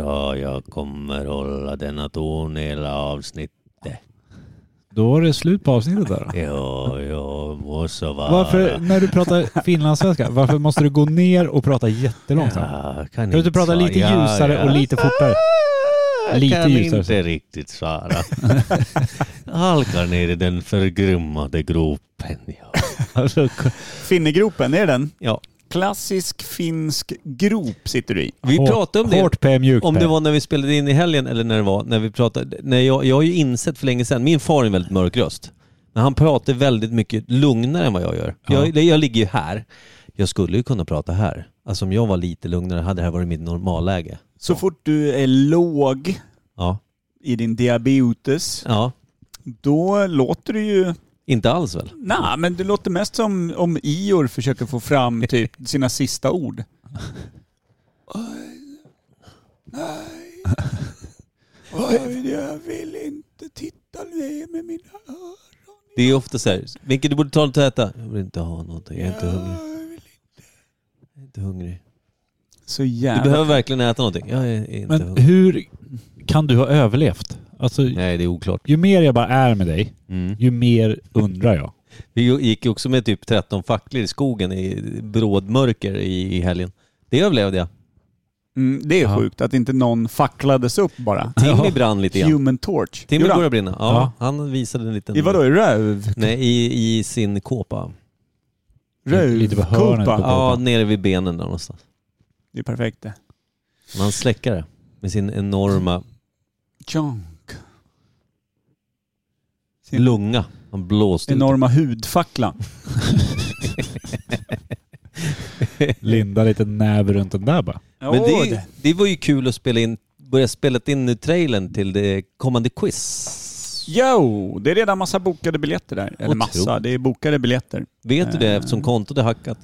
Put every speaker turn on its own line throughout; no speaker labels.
Ja, jag kommer hålla denna ton hela avsnittet.
Då var det slut på avsnittet där.
Ja, jag må så vara.
Varför, när du pratar finlandssvenska, varför måste du gå ner och prata jättelångsamt?
Ja,
Kan du inte prata
svara.
lite
Ja,
ljusare
ja.
och lite fortare?
Jag
Lite
kan
ljusare.
inte riktigt svara. Halkar ner i den förgrymmade gropen. Ja.
Alltså,
Finnegropen, är det den?
Ja.
Klassisk finsk grop sitter du i.
Vi
hårt-
pratade om det.
Hårt P, mjukt
Om
P.
det var när vi spelade in i helgen eller när det var när vi pratade. När jag, jag har ju insett för länge sedan, min far är en väldigt mörk röst. Men han pratar väldigt mycket lugnare än vad jag gör. Jag, jag ligger ju här. Jag skulle ju kunna prata här. Alltså om jag var lite lugnare hade det här varit mitt normalläge.
Så fort du är låg
Ja.
i din diabetes,
ja.
då låter du ju...
Inte alls väl?
Nej, men det låter mest som om Ior försöker få fram typ sina sista ord. Nej. Nej. Jag vill inte titta ner med mina öron.
Det är ju ofta så här, Micke du borde ta något att äta. Jag vill inte ha någonting, jag är inte hungrig. Jag är inte hungrig.
Så
Du
jävla...
behöver verkligen äta någonting. Jag är inte
Men
hungrig.
hur kan du ha överlevt? Alltså,
Nej det är oklart.
ju mer jag bara är med dig,
Mm.
ju mer undrar jag.
Vi ju- gick ju också med typ 13 facklor i skogen i brådmörker i, i helgen. Det överlevde jag.
Mm, det är
Ja.
sjukt att inte någon facklades upp bara.
Timmy brann lite grann.
Human torch.
Timmy
Gjorde han?
började brinna. Ja, han visade en liten...
I vadå? I röv?
Nej, i, i sin kåpa.
Lite på hörnet på-
Rövkåpa?
Ja, nere vid benen där någonstans.
Det är perfekt det.
Men han släckade det med sin enorma
Junk. Sin
lunga. Han blåste ut
enorma hudfacklan.
Linda lite näv runt den där bara.
Men det, det var ju kul att spela in, börja spela in nu trailern till det kommande quiz.
Jo, det är redan massa bokade biljetter där. Eller massa,
Otroligt.
det är bokade biljetter.
Vet du det eftersom kontot är hackat?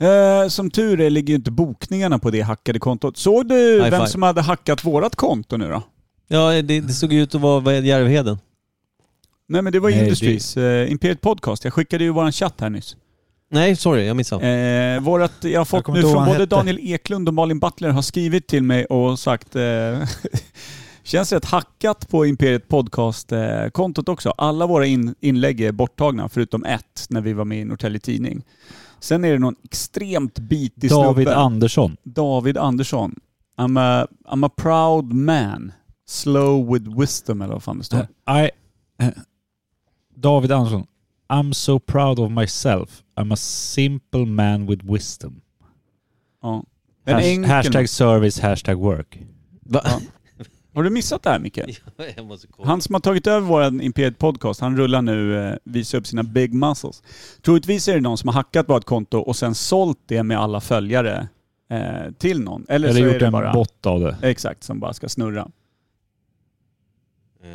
Eh, som tur är ligger ju inte bokningarna på det hackade kontot. Såg du
High
vem
five.
som hade hackat vårat konto nu då?
Ja, det, det såg ut att vara vad är det, Järvheden.
Nej men det var
Nej,
Industries, eh, Imperiet Podcast. Jag skickade ju våran chatt här nyss.
Nej, sorry, jag missade.
Eh, vårat, jag har fått
kommer
nu
inte ihåg
från
vad han hette.
både Daniel Eklund och Malin Butler har skrivit till mig och sagt eh, Känns rätt hackat på Imperiet Podcast-kontot också. Alla våra in, inlägg är borttagna förutom ett när vi var med i Norrtälje Tidning. Sen är det någon extremt bitig
David
snubbe.
Andersson.
David Andersson. I'm a, I'm a proud man. Slow with wisdom eller vad fan det står.
I, David Andersson. I'm so proud of myself. I'm a simple man with wisdom.
Ja. En
Has,
enkel-
hashtag service, hashtag work.
Va?
Ja. Har du missat det här Micke?
jag måste kolla.
Han som har tagit över vår Imperiet Podcast, han rullar nu, eh, visar upp sina big muscles. Troligtvis är det någon som har hackat vårt konto och sen sålt det med alla följare eh, till någon. Eller,
Eller
så är
gjort
det
en
bara...
bot av det.
Exakt, som bara ska snurra.
Eh,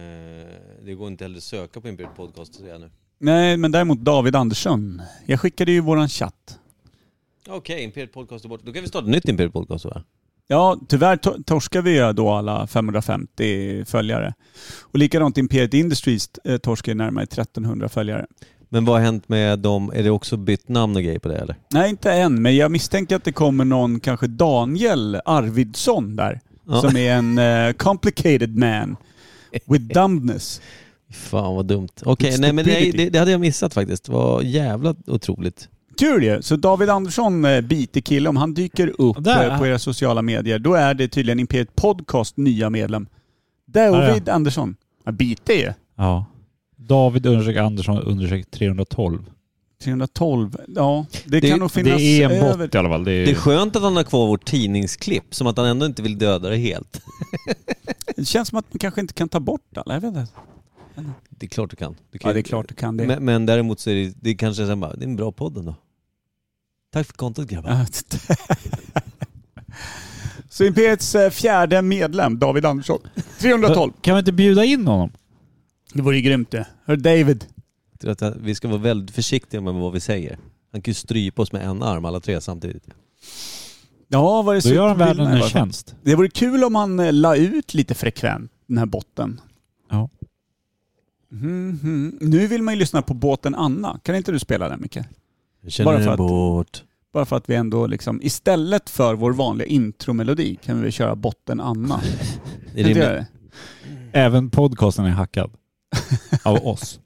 det går inte heller att söka på Imperiet Podcast, ser jag nu.
Nej, men däremot David Andersson. Jag skickade ju våran chatt.
Okej, Imperiet Podcast är borta. Då kan vi starta ett nytt Imperiet Podcast va?
Ja, tyvärr to- torskar vi ju då alla 550 följare. Och likadant Imperiet Industries eh, torskar ju närmare 1300 följare.
Men vad har hänt med dem? Är det också bytt namn och grejer på det eller?
Nej, inte än, men jag misstänker att det kommer någon, kanske Daniel Arvidsson där.
Ja.
Som är en eh, complicated man with dumbness.
Fan vad dumt. Okej,
It's
nej men det,
stupidity.
det, det hade jag missat faktiskt. Det var jävla otroligt.
Tur ju! Så David Andersson, eh, bitig kille, om han dyker upp
Där.
eh, på era sociala medier, då är det tydligen Imperiet Podcast nya medlem. David Andersson. Ja, bitig ju.
Ja. David undersök Andersson undersök 312.
312. Ja, det,
Det-
kan nog finnas
det är en bot
över...
i alla fall. Det är,
Det är skönt att han har kvar vårt tidningsklipp, som att han ändå inte vill döda det helt.
Det känns som att man kanske inte kan ta bort alla. Jag vet inte.
Det är klart du kan. Du kan
Ja, det är klart du kan det.
Men, men däremot så är det, det är kanske sen bara, det är en bra podd ändå. Tack för kontot grabbar.
Ja. Så Imperiets eh, fjärde medlem, David Andersson. 312.
kan vi inte bjuda in honom?
Det vore ju grymt det. Hör David.
Jag tror att Vi ska vara väldigt försiktiga med vad vi säger. Han kan ju strypa oss med en arm alla tre samtidigt.
Ja, vad är det
Då
så-
gör han världen
bilderna i
en
varje fall.
tjänst.
Det vore kul om han eh, la ut lite frekvent, den här botten.
Ja.
Mhm. Nu vill man ju lyssna på båten Anna. Kan inte du spela den Micke?
Jag känner
Bara för
en
att-
båt.
Bara för att vi ändå liksom, istället för vår vanliga intromelodi kan vi väl köra botten Anna.
Det är rimligt.
det?
Även podcasten är hackad. Av oss.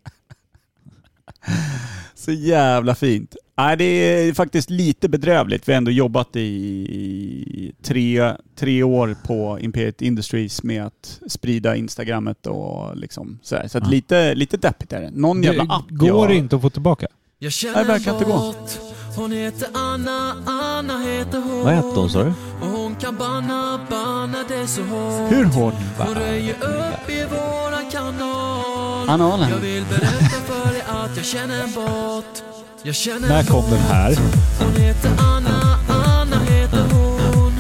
Så jävla fint. Nej, det är faktiskt lite bedrövligt. Vi har ändå jobbat i, i tre, tre år på Imperiet Industries med att sprida Instagrammet och liksom sådär. Så att
Ja.
lite, lite deppigt är det. Någon jävla app
går
jag-
inte att få tillbaka.
Jag känner
Nej, det verkar inte gå.
bort. Hon heter Anna, Anna heter hon.
Vad hette hon sa du?
Och hon kan banna, banna det så hårt.
Hur hård?
Hon röjer upp i våran kanal.
Analen.
Jag vill berätta för dig att jag känner en bot. Jag känner
När
en
kom den här?
Hon heter Anna, Anna heter hon.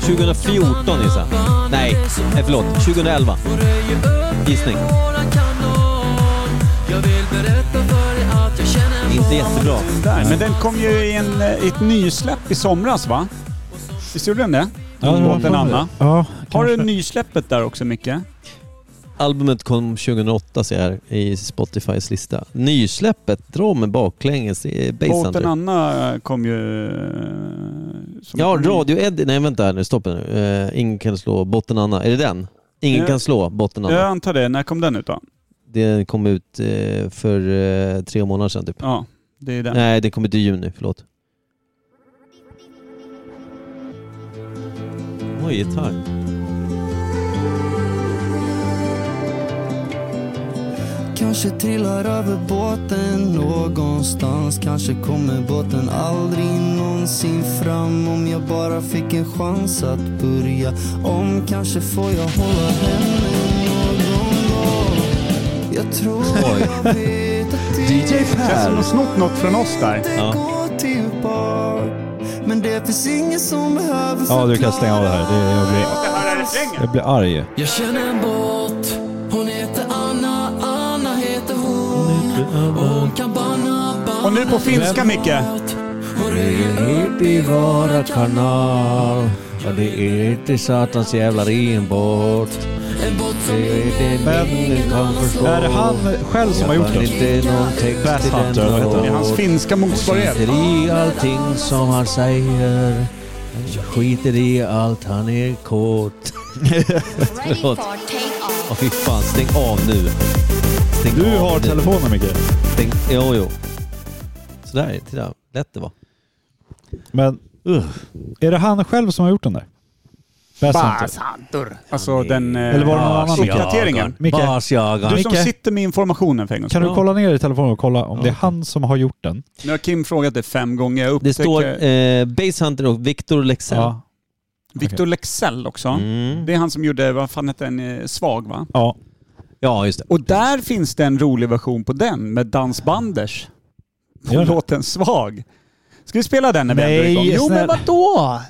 2014 Issa. Nej, nej förlåt. 2011.
Hon röjer upp
Gissning.
i våran kanal. Jag vill berätta för dig att jag känner en
Inte
bot.
jättebra.
Där. Men den kom ju i, en, i ett nysläpp i somras va? Visst gjorde den det? Båten Anna.
Ja,
Har du
kanske.
nysläppet där också Micke?
Albumet kom 2008 ser jag här i Spotifys lista. Nysläppet, dra med baklänges, det är
Båten
Basshunter.
Anna eh, kom ju... som-
Ja, Radio Eddie. Nej vänta här nu, stoppa nu. Eh, ingen kan slå Botten Anna. Är det den? Ingen
Ja.
kan slå Botten Anna.
Jag antar det. När kom den ut då?
Det kom ut eh, för eh, tre månader sedan typ.
Ja, det är den.
Nej, det kom ut i juni, förlåt. Oj, gitarr.
Kanske trillar över båten någonstans Kanske kommer båten aldrig någonsin fram Om jag bara fick en chans att börja om Kanske får jag hålla henne någon gång Jag tror jag vet att det
DJ Per. Känns som de snott något från oss där.
Ja.
går till bar Men det finns ingen som behöver
Ja, du kan stänga av det här. Det, jag, blir, jag blir arg.
Jag känner en båt Hon heter Anna, Anna heter hon Och hon kan banna, banna
Och nu på finska Micke.
Hon röjer upp i våra kanal Ja, det är inte satans jävla renbåt En båt som
Men
ingen kan förstå
är det han själv som har gjort den?
Inte någon text till
Basshunter,
den
vad heter
Det är hans finska motsvarighet.
Skiter i allting som han säger Skiter i allt, han är kåt
Ready for
Förlåt.
take off.
Åh fy fan, stäng av nu. Stäng
Du
av
har
nu.
telefonen Micke.
Stäng... Jo, jo. Sådär, titta. Lätt det var.
Men är det han själv som har gjort den där? Basshunter.
Basantur. Alltså den... eh,
Eller var det någon annan?
Uppdateringen.
Micke,
Basjagaren.
Du som
Micke?
sitter med informationen för en gångs
kan
skull.
du kolla ner i telefonen och kolla om det är han som har gjort den?
Nu har Kim frågat det fem gånger. Jag
Det står
upptäcker
eh, Basshunter och Victor Leksell.
Ja.
Victor
okej.
Lexell också.
Mm.
Det är han som gjorde, vad fan hette den, eh, Svag va?
ja.
ja, just det.
Och där finns det en rolig version på den med dansbanders. På
Gör det.
låten Svag. Ska vi spela den när vi
Nej,
ändå är igång? Jo men
snälla.
vadå?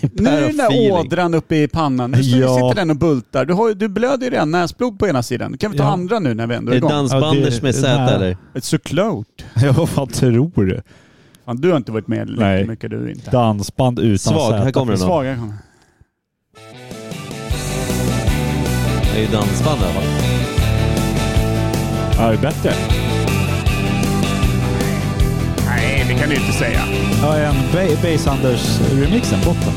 Nu
Per
är den där
feeling.
ådran uppe i pannan. Nu
Ja.
sitter den och bultar. Du, har, ju- du blöder ju redan näsblod på ena sidan. Kan vi ta
Ja.
andra nu när vi ändå
Det
är
är
igång?
dansbanders
Ja, det-
med Z
det här-
eller?
It's so close.
ja, vad fan tror du?
Fan, du har inte varit med lika
Nej.
mycket du inte.
Dansband utan
Svag,
Z.
här kommer den. då.
Svaga kommer.
Det är ju dansband i alla fall.
Ja, det är bättre.
Nej, det kan du inte säga.
Ja, en Ba- Basshunders-remixen, botten.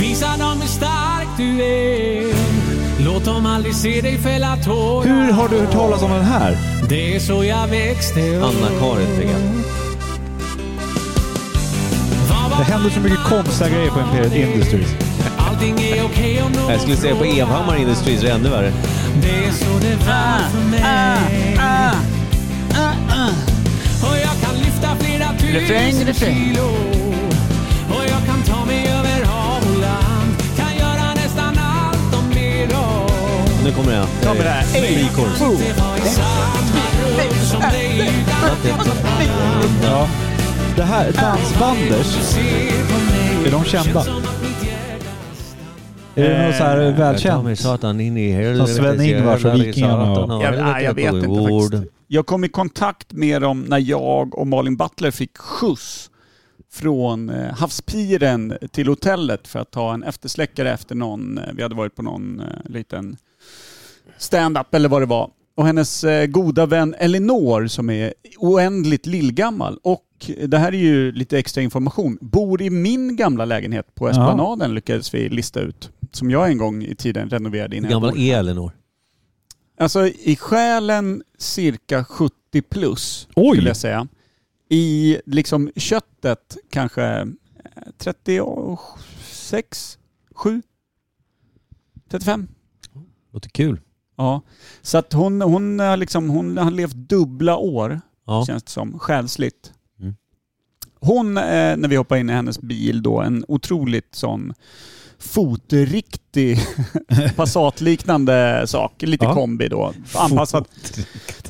Visa dem hur stark du är Låt dem aldrig se dig fälla tårar
Hur har du hört talas om den här?
Det är så jag växte upp
Anna-Karin fick jag.
Vad var
Det händer så mycket konstiga grejer på Imperiet Industries.
Allting är okej om någon
Jag skulle säga på
frågar.
Evhammar Ah, Industries är det ännu värre.
Det är så det var för mig
Ah,
ah,
Och jag kan lyfta flera tusen kilo Och jag kan ta mig över hav och land Kan göra nästan allt och mer av
Nu kommer jag.
Ta med det här.
Frikor.
Det var i samma rum som dig utan att
Ja. Det här, Dansbanders,
se på mig
är de kända?
Som att mitt hjärta
Är det någon så
Eh,
här
Ta mig
välkänd?
satan in i helvete.
Som Sven-Ingvars och Vikingarna och-
Satan,
Jag, nej, jag
helvete
vet
på
inte
jorden.
faktiskt. Jag kom i kontakt med dem när jag och Malin Butler fick skjuts från eh, havspiren till hotellet för att ta en eftersläckare efter någon, eh, vi hade varit på någon eh, liten stand-up eller vad det var. och hennes eh, goda vän Elinor som är oändligt lillgammal och eh, det här är ju lite extra information. Bor i min gamla lägenhet på Esplanaden lyckades vi lista ut. Som jag en gång i tiden renoverade
Hur
innan jag
gammal
bor.
är Elinor?
Alltså i själen cirka 70 plus
Oj!
skulle jag säga. I liksom köttet kanske eh, 36, 7, 35.
Låter kul.
Ja. Så att hon, hon, eh, liksom, hon har levt dubbla år
Ja.
känns det som, själsligt.
Mm.
Hon, eh, när vi hoppar in i hennes bil då, en otroligt sån fotriktig Passat-liknande sak. Lite
Ja.
kombi då. Anpassad,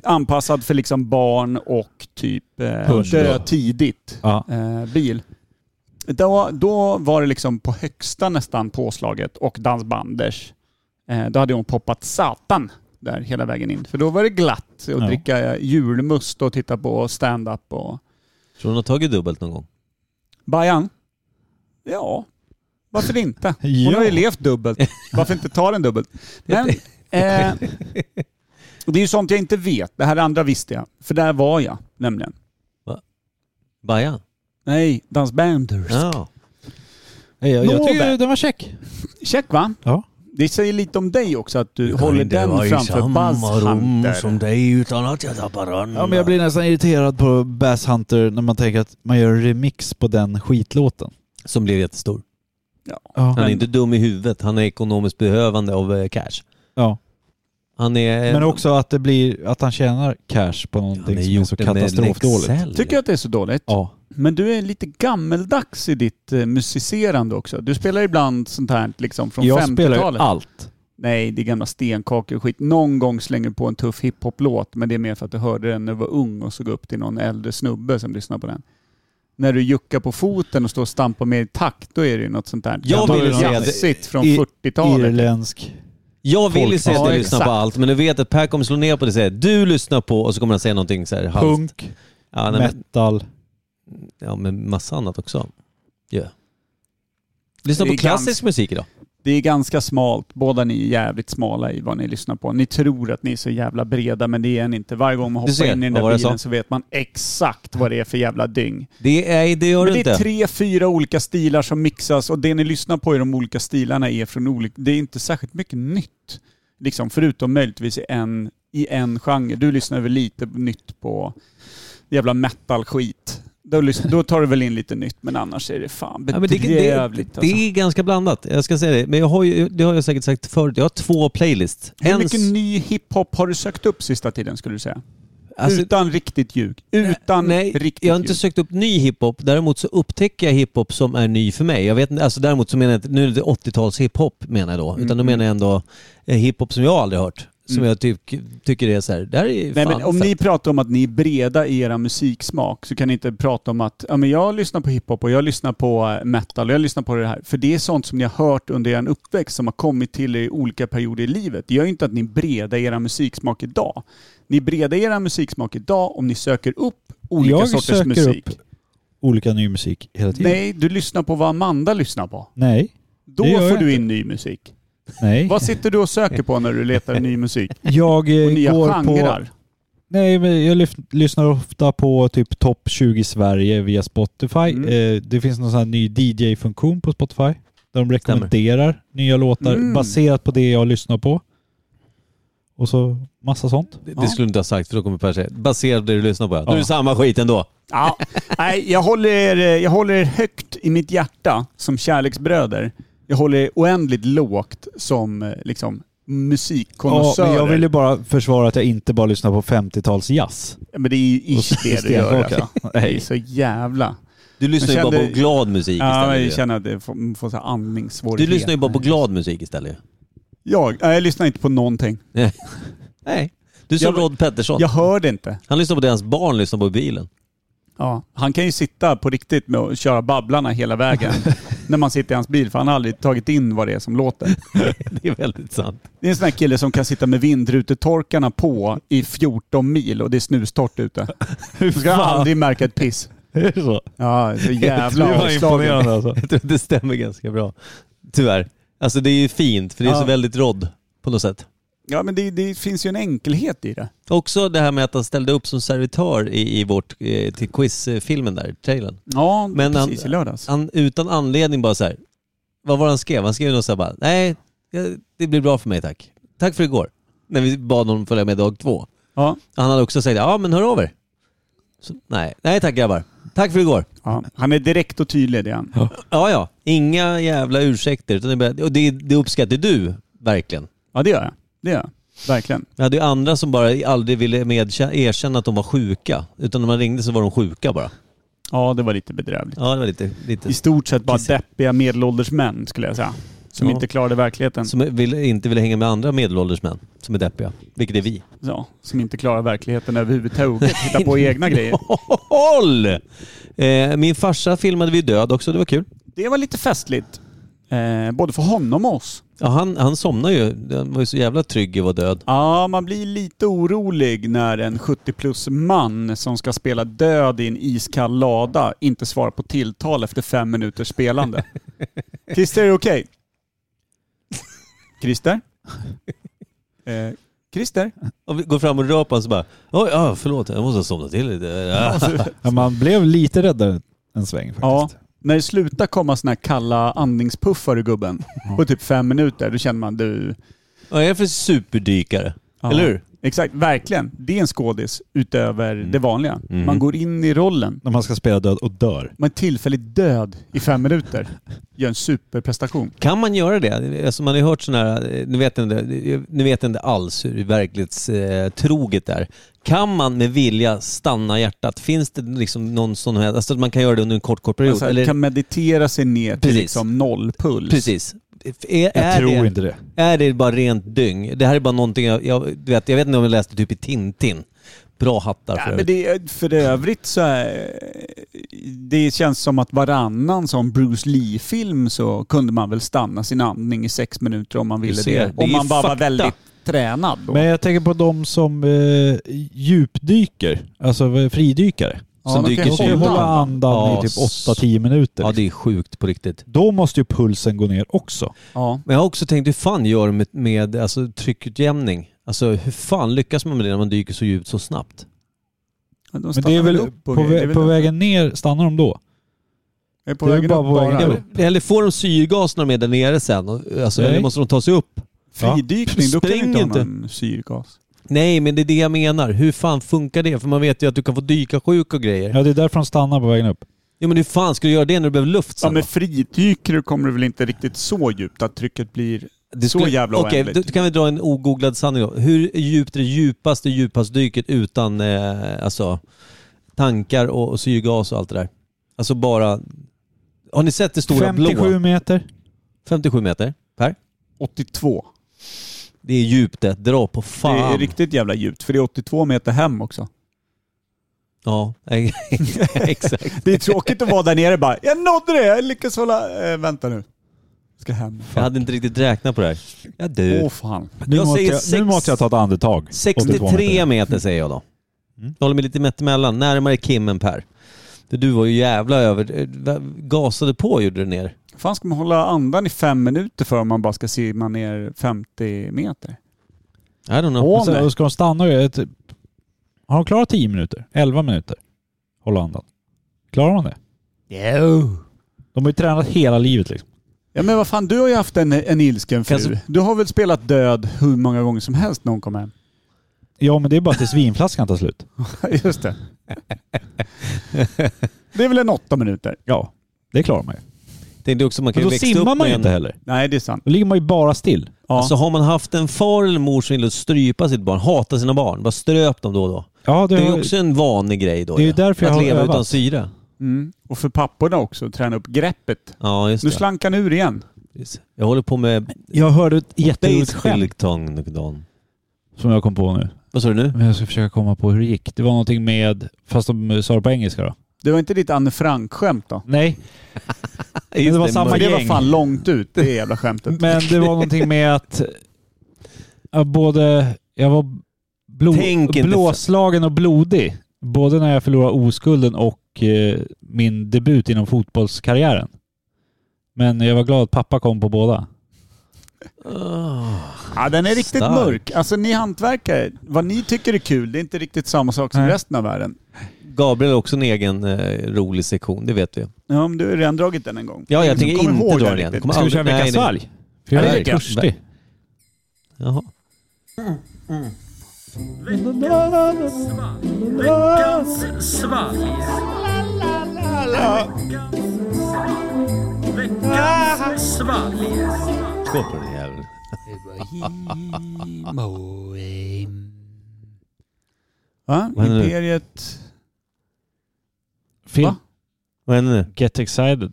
anpassad för liksom barn och typ eh,
Hund då.
dö tidigt
Ja.
eh, bil. Då, då var det liksom på högsta nästan påslaget och dansbanders. Eh, då hade hon poppat satan där hela vägen in. För då var det glatt att
Ja.
dricka julmust och titta på stand-up och...
Tror hon har tagit dubbelt någon gång?
Bajan? Ja, varför inte? Hon har ju
Ja.
levt dubbelt. Varför inte ta den dubbelt? Men, eh, det är ju sånt jag inte vet. Det här andra visste jag. För där var jag nämligen.
Baja?
Nej, dansbanders.
Ja.
Nej, Jag, jag
Nåväl.
tycker den var check.
Check va?
Ja.
Det säger lite om dig också att du håller den framför Buzz Hunter.
dig utan att jag tappar andan.
Ja, men jag blir nästan irriterad på Bass Hunter när man tänker att man gör en remix på den skitlåten.
Som blev jättestor.
Ja.
Han är
Men-
inte dum i huvudet. Han är ekonomiskt behövande av eh, cash.
ja.
Han är... eh,
Men också att det blir att han tjänar cash på någonting som är så katastrofdåligt.
Tycker jag att det är så dåligt?
Ja.
Men du är lite gammeldags i ditt eh, musicerande också. Du spelar ibland sånt här liksom från
Jag spelar ju
50-talet.
allt.
Nej, det är gamla stenkakor och skit. Någon gång slänger du på en tuff hiphop-låt, men det är mer för att du hörde den när du var ung och såg upp till någon äldre snubbe som lyssnade på den. När du juckar på foten och står och stampar med i takt, då är det ju något sånt där
Jag
vill
gammalt
säga det-
jazzigt från
I-
40-talet.
Irländsk.
Jag vill ju
Folk-
säga att
Ja,
du lyssnar på
exakt.
allt, men du vet att Per kommer slå ner på det och säga du lyssnar på och så kommer han säga någonting så här halvt.
Punk.
Ja, nej, men,
metal.
ja, men massa annat också. Ja. Lyssna
Det
på
är
klassisk
ganska-
musik idag.
Det är ganska smalt. Båda ni är jävligt smala i vad ni lyssnar på. Ni tror att ni är så jävla breda, men det är ni inte. Varje gång man
Du
hoppar
ser,
in i den
vad var
där
det jag
bilen
sa?
så vet man exakt vad det är för jävla dyng.
Det, är, det gör
Men
du
det är
inte.
tre, fyra olika stilar som mixas och det ni lyssnar på i de olika stilarna är från olika... Det är inte särskilt mycket nytt. Liksom, förutom möjligtvis i en, i en genre. Du lyssnar väl lite nytt på jävla metal-skit. Då, lyssn- då tar du väl in lite nytt, men annars är det fan
Ja, men det,
bedrövligt. alltså.
det, det, det är ganska blandat, jag ska säga det. Men jag har ju, det har jag säkert sagt förut, jag har två playlists.
Hur
En
mycket
s-
ny hiphop har du sökt upp sista tiden skulle du säga?
alltså-
utan riktigt ljug. Utan
Nej,
riktigt
jag har inte
ljug.
sökt upp ny hiphop. Däremot så upptäcker jag hiphop som är ny för mig. Jag vet, inte- alltså däremot så menar jag inte, nu är det 80-tals hiphop menar jag då. Utan då menar jag ändå eh, hiphop som jag aldrig hört. Som
Mm.
jag tyck, tycker är så här, det här är ju
Nej,
fan
men om
fett.
ni pratar om att ni är breda i era musiksmak så kan ni inte prata om att ja, men jag lyssnar på hiphop och jag lyssnar på eh, metal och jag lyssnar på det här. För det är sånt som ni har hört under er uppväxt som har kommit till er i olika perioder i livet. Det gör ju inte att ni är breda i era musiksmak idag. Ni är breda i era musiksmak idag om ni söker upp olika
Jag
sorters
söker
musik.
upp olika ny musik hela tiden.
Nej, du lyssnar på vad Amanda lyssnar på.
Nej.
Då
Det gör
får
jag
du in ny musik.
Nej.
Vad sitter du och söker på när du letar ny musik?
Jag eh,
Och nya
går på...
genrer?
Nej, men jag lyf- lyssnar ofta på typ topp 20 Sverige via Spotify.
Mm.
Eh, det finns någon sån här ny DJ-funktion på Spotify. Där de rekommenderar nya låtar
Mm.
baserat på det jag lyssnar på. Och så massa sånt.
Det, det skulle du inte ha sagt för då kommer Per säga, baserat på det du lyssnar på. Ja. Då är det
Ja.
samma skit ändå.
Ja, nej, jag håller, er, jag håller er högt i mitt hjärta som kärleksbröder. Jag håller er oändligt lågt som eh, liksom,
Ja,
musikkonnässörer.
men jag vill ju bara försvara att jag inte bara lyssnar på 50-tals jazz.
men det är ju
Och
ish det du gör.
stenkaka.
Alltså. Det är så jävla...
Du lyssnar ju
kände-
bara på glad musik
Ja, jag
istället. ju.
känner att jag får, får så här
du
andningssvårigheter.
lyssnar ju bara på glad musik istället. ju.
Jag, nej, jag lyssnar inte på någonting.
Nej. Du är som
Jag-
Rod Pettersson.
Jag hör det inte.
Han lyssnar på det hans barn lyssnar på i bilen.
Ja, han kan ju sitta på riktigt med att köra Babblarna hela vägen när man sitter i hans bil för han har aldrig tagit in vad det är som låter.
Det är väldigt sant.
Det är en sån här kille som kan sitta med vindrutetorkarna på i 14 mil och det är snustort ute. Du ska aldrig märka ett piss.
Är det så?
Ja, så
Det
jävla
var
avslagen.
imponerande alltså.
Jag tror att det stämmer ganska bra. Tyvärr. Alltså det är ju fint för det är
Ja.
så väldigt Rod på något sätt.
Ja men det, det finns ju en enkelhet i det.
Också det här med att han ställde upp som servitör i, i vårt eh, till quizfilmen där, trailern.
Ja,
Men han-
precis. I lördags.
Han utan anledning bara så här. vad var det han skrev? Han skrev något så här bara, nej, jag- det blir bra för mig tack. Tack för igår. När vi bad honom följa med dag två.
Ja.
Han hade också sagt, ja men hör av er. Så, nej, nej tack grabbar. Tack för igår.
Ja. Han är direkt och tydlig det är han.
Ja, ja. Inga jävla ursäkter. Utan det, är bara- och det, det uppskattar du verkligen.
Ja det gör jag. Det gör jag. Verkligen.
Jag hade ju andra som bara aldrig ville medkä- erkänna att de var sjuka. Utan när man ringde så var de sjuka bara.
Ja det var lite bedrövligt.
Ja, det var lite... lite
I stort sett bara
Precis.
deppiga medelålders män skulle jag säga. Som
Ja.
inte klarade verkligheten.
som vill, inte ville hänga med andra medelålders män som är deppiga. Vilket är vi.
Ja, som inte klarar verkligheten överhuvudtaget. Hitta på egna grejer.
Håll! Eh, min farsa filmade vi död också. Det var kul.
Det var lite festligt. Eh, både för honom och oss.
Ja, han, han somnade ju. Han var ju så jävla trygg i att vara död.
Ja, man blir lite orolig när en 70 plus man som ska spela död i en iskall lada inte svarar på tilltal efter fem minuters spelande. Christer, är det okej? Christer? Eh, Christer?
Och vi går fram och rör på honom så bara... Oj, ja, förlåt. Jag måste ha somnat till lite. Ja.
Ja, man blev lite räddare en sväng
Ja.
faktiskt.
När det slutar komma såna här kalla andningspuffar ur gubben på typ fem minuter, då känner man du...
Vad är det för superdykare?
Ja.
Eller hur?
Exakt, verkligen. Det är en skådis utöver det vanliga.
Mm.
Man går in i rollen.
När man ska spela död och dör.
Man är tillfälligt död i fem minuter. Gör en superprestation.
Kan man göra det? Alltså man har ju hört sådana här, eh, nu vet jag inte, nu vet jag inte alls hur verklighetstroget är. Kan man med vilja stanna hjärtat? Finns det liksom någon sån här, alltså att man kan göra det under en kort, kort period?
Man så här,
eller,
Alltså, kan meditera sig ner till
Precis.
liksom nollpuls.
Precis. Är,
Jag
är,
tror
det,
inte det.
är det bara rent dyng? Det här är bara någonting jag, jag, du vet, jag vet inte om jag läste typ i Tintin. Bra hattar för
Ja, men
övrigt.
det, är- för övrigt så är, det känns som att varannan som Bruce Lee-film så kunde man väl stanna sin andning i sex minuter om man ville
ser,
det.
det är
Om man bara var
fakta.
väldigt tränad. Då.
Men jag tänker på de som eh, djupdyker, alltså eh, fridykare.
Ja,
som
man
dyker
kan
De
sig
kan
ur.
hålla
hålla.
andan
Ja,
i typ
s-
8-10 minuter.
Ja, det är sjukt på riktigt.
Då måste ju pulsen gå ner också.
ja.
Men jag har också tänkt, hur fan gör du med, med alltså, tryckutjämning? Alltså hur fan lyckas man med det när man dyker så djupt så snabbt?
De
Men
stannar
det är väl
upp
på,
och grejer. Det är
vä-
väl
på
det.
vägen ner, stannar de då?
Jag är på
det är
vägen
bara
upp
på vägen
bara.
upp.
Eller får de syrgas när de är där nere sen? Och, Alltså,
Nej.
eller måste de ta sig upp?
Fridykning, då kan du
Spring
inte ha
inte.
någon syrgas.
Nej, men det är det jag menar. Hur fan funkar det? För man vet ju att du kan få dyka sjuk och grejer.
Ja, det är därför de stannar på vägen upp.
Ja, men hur fan ska du göra det när du behöver luft
Ja,
sen?
men
då?
fridyker du kommer du väl inte riktigt så djupt att trycket blir
Det
så jävla
Okej,
oändligt.
då kan vi dra en ogooglad sanning då. Hur djupt är det djupaste djuphavsdyket utan eh, alltså, tankar och, och syrgas och allt det där? Alltså bara... Har ni sett det stora
57
blå?
meter.
57 meter per.
82.
Det är djupt det. Dra på fan.
Det är riktigt jävla djupt, för det är 82 meter hem också.
Ja, exakt.
Det är tråkigt att vara där nere bara, jag nådde det, jag lyckas hålla... Eh, vänta nu. Ska hem.
Jag hade inte riktigt räknat på det här. Ja, du.
Åh fan.
Nu,
Jag
måste
säger
jag, nu
sex-
måste jag ta ett andetag. 82
63
meter.
meter säger jag då.
Mm.
Jag håller mig lite mitt emellan. Närmare Kim än Per. För Du var ju jävla över... eh, Gasade på gjorde du ner.
fan ska man hålla andan i fem minuter för om man bara ska simma ner 50 meter?
I don't know.
Och sen, då ska de stanna och göra typ... Har de klarat 10 minuter? 11 minuter? Hålla andan. Klarar man det?
Jo.
De har ju tränat hela livet liksom.
Ja men vad fan, du har ju haft en, en ilsken fru.
Kanske-
Du har väl spelat död hur många gånger som helst när hon kom hem?
Ja, men det är bara tills vinflaskan tar slut.
Just det. det är väl en åtta minuter?
Ja, det klarar man ju.
Tänkte också man kan
Men
ju
då
växa
simmar
upp
man ju
med
inte
en...
heller.
Nej, det är sant.
Då ligger man ju bara still.
Ja.
Alltså har man haft en far eller mor som gillar att strypa sitt barn, hata sina barn, bara ströp dem då och då.
Ja,
Det är ju
har-
också en vanlig grej då
Det är ju
ja.
därför jag
Att
har
leva
övat.
utan syre.
Mm. Och för papporna också, träna upp greppet.
Ja, just
Nu
det.
slank han ur igen.
Precis. Jag håller på med
Jag hörde ett jätteroligt skämt
Baseball-tong.
som jag kom på nu.
Vad sa du nu?
Men jag ska försöka komma på hur det gick. Det var någonting med, fast de sa det på engelska då.
Det var inte ditt Anne Frank-skämt då?
Nej,
Just
det var samma
För
mörk-
det var
gäng.
fan långt ut, det jävla skämtet.
men det var någonting med att ja, både, jag var blå,
Tänk inte för-
blåslagen och blodig. Både när jag förlorade oskulden och eh, min debut inom fotbollskarriären. Men jag var glad att pappa kom på båda.
Ah.
Ja, den är riktigt
Stark.
mörk. Alltså ni hantverkare, vad ni tycker är kul, det är inte riktigt samma sak som
Nej.
resten av världen.
Gabriel har också en egen eh, rolig sektion, det vet vi.
Ja, men du har redan dragit den en gång.
Ja, jag tänker
kommer
inte
ihåg
dra
den
den igen.
riktigt.
Kommer
Ska vi
aldrig-
köra veckans
nej, nej.
svalg? För jag
Ja, det
är
tycker jag.
törstig.
Jaha. Skål på den jäveln.
Va?
Vad händer nu?
Imperiet...
Film
Va?
Vad händer nu?
Get Excited.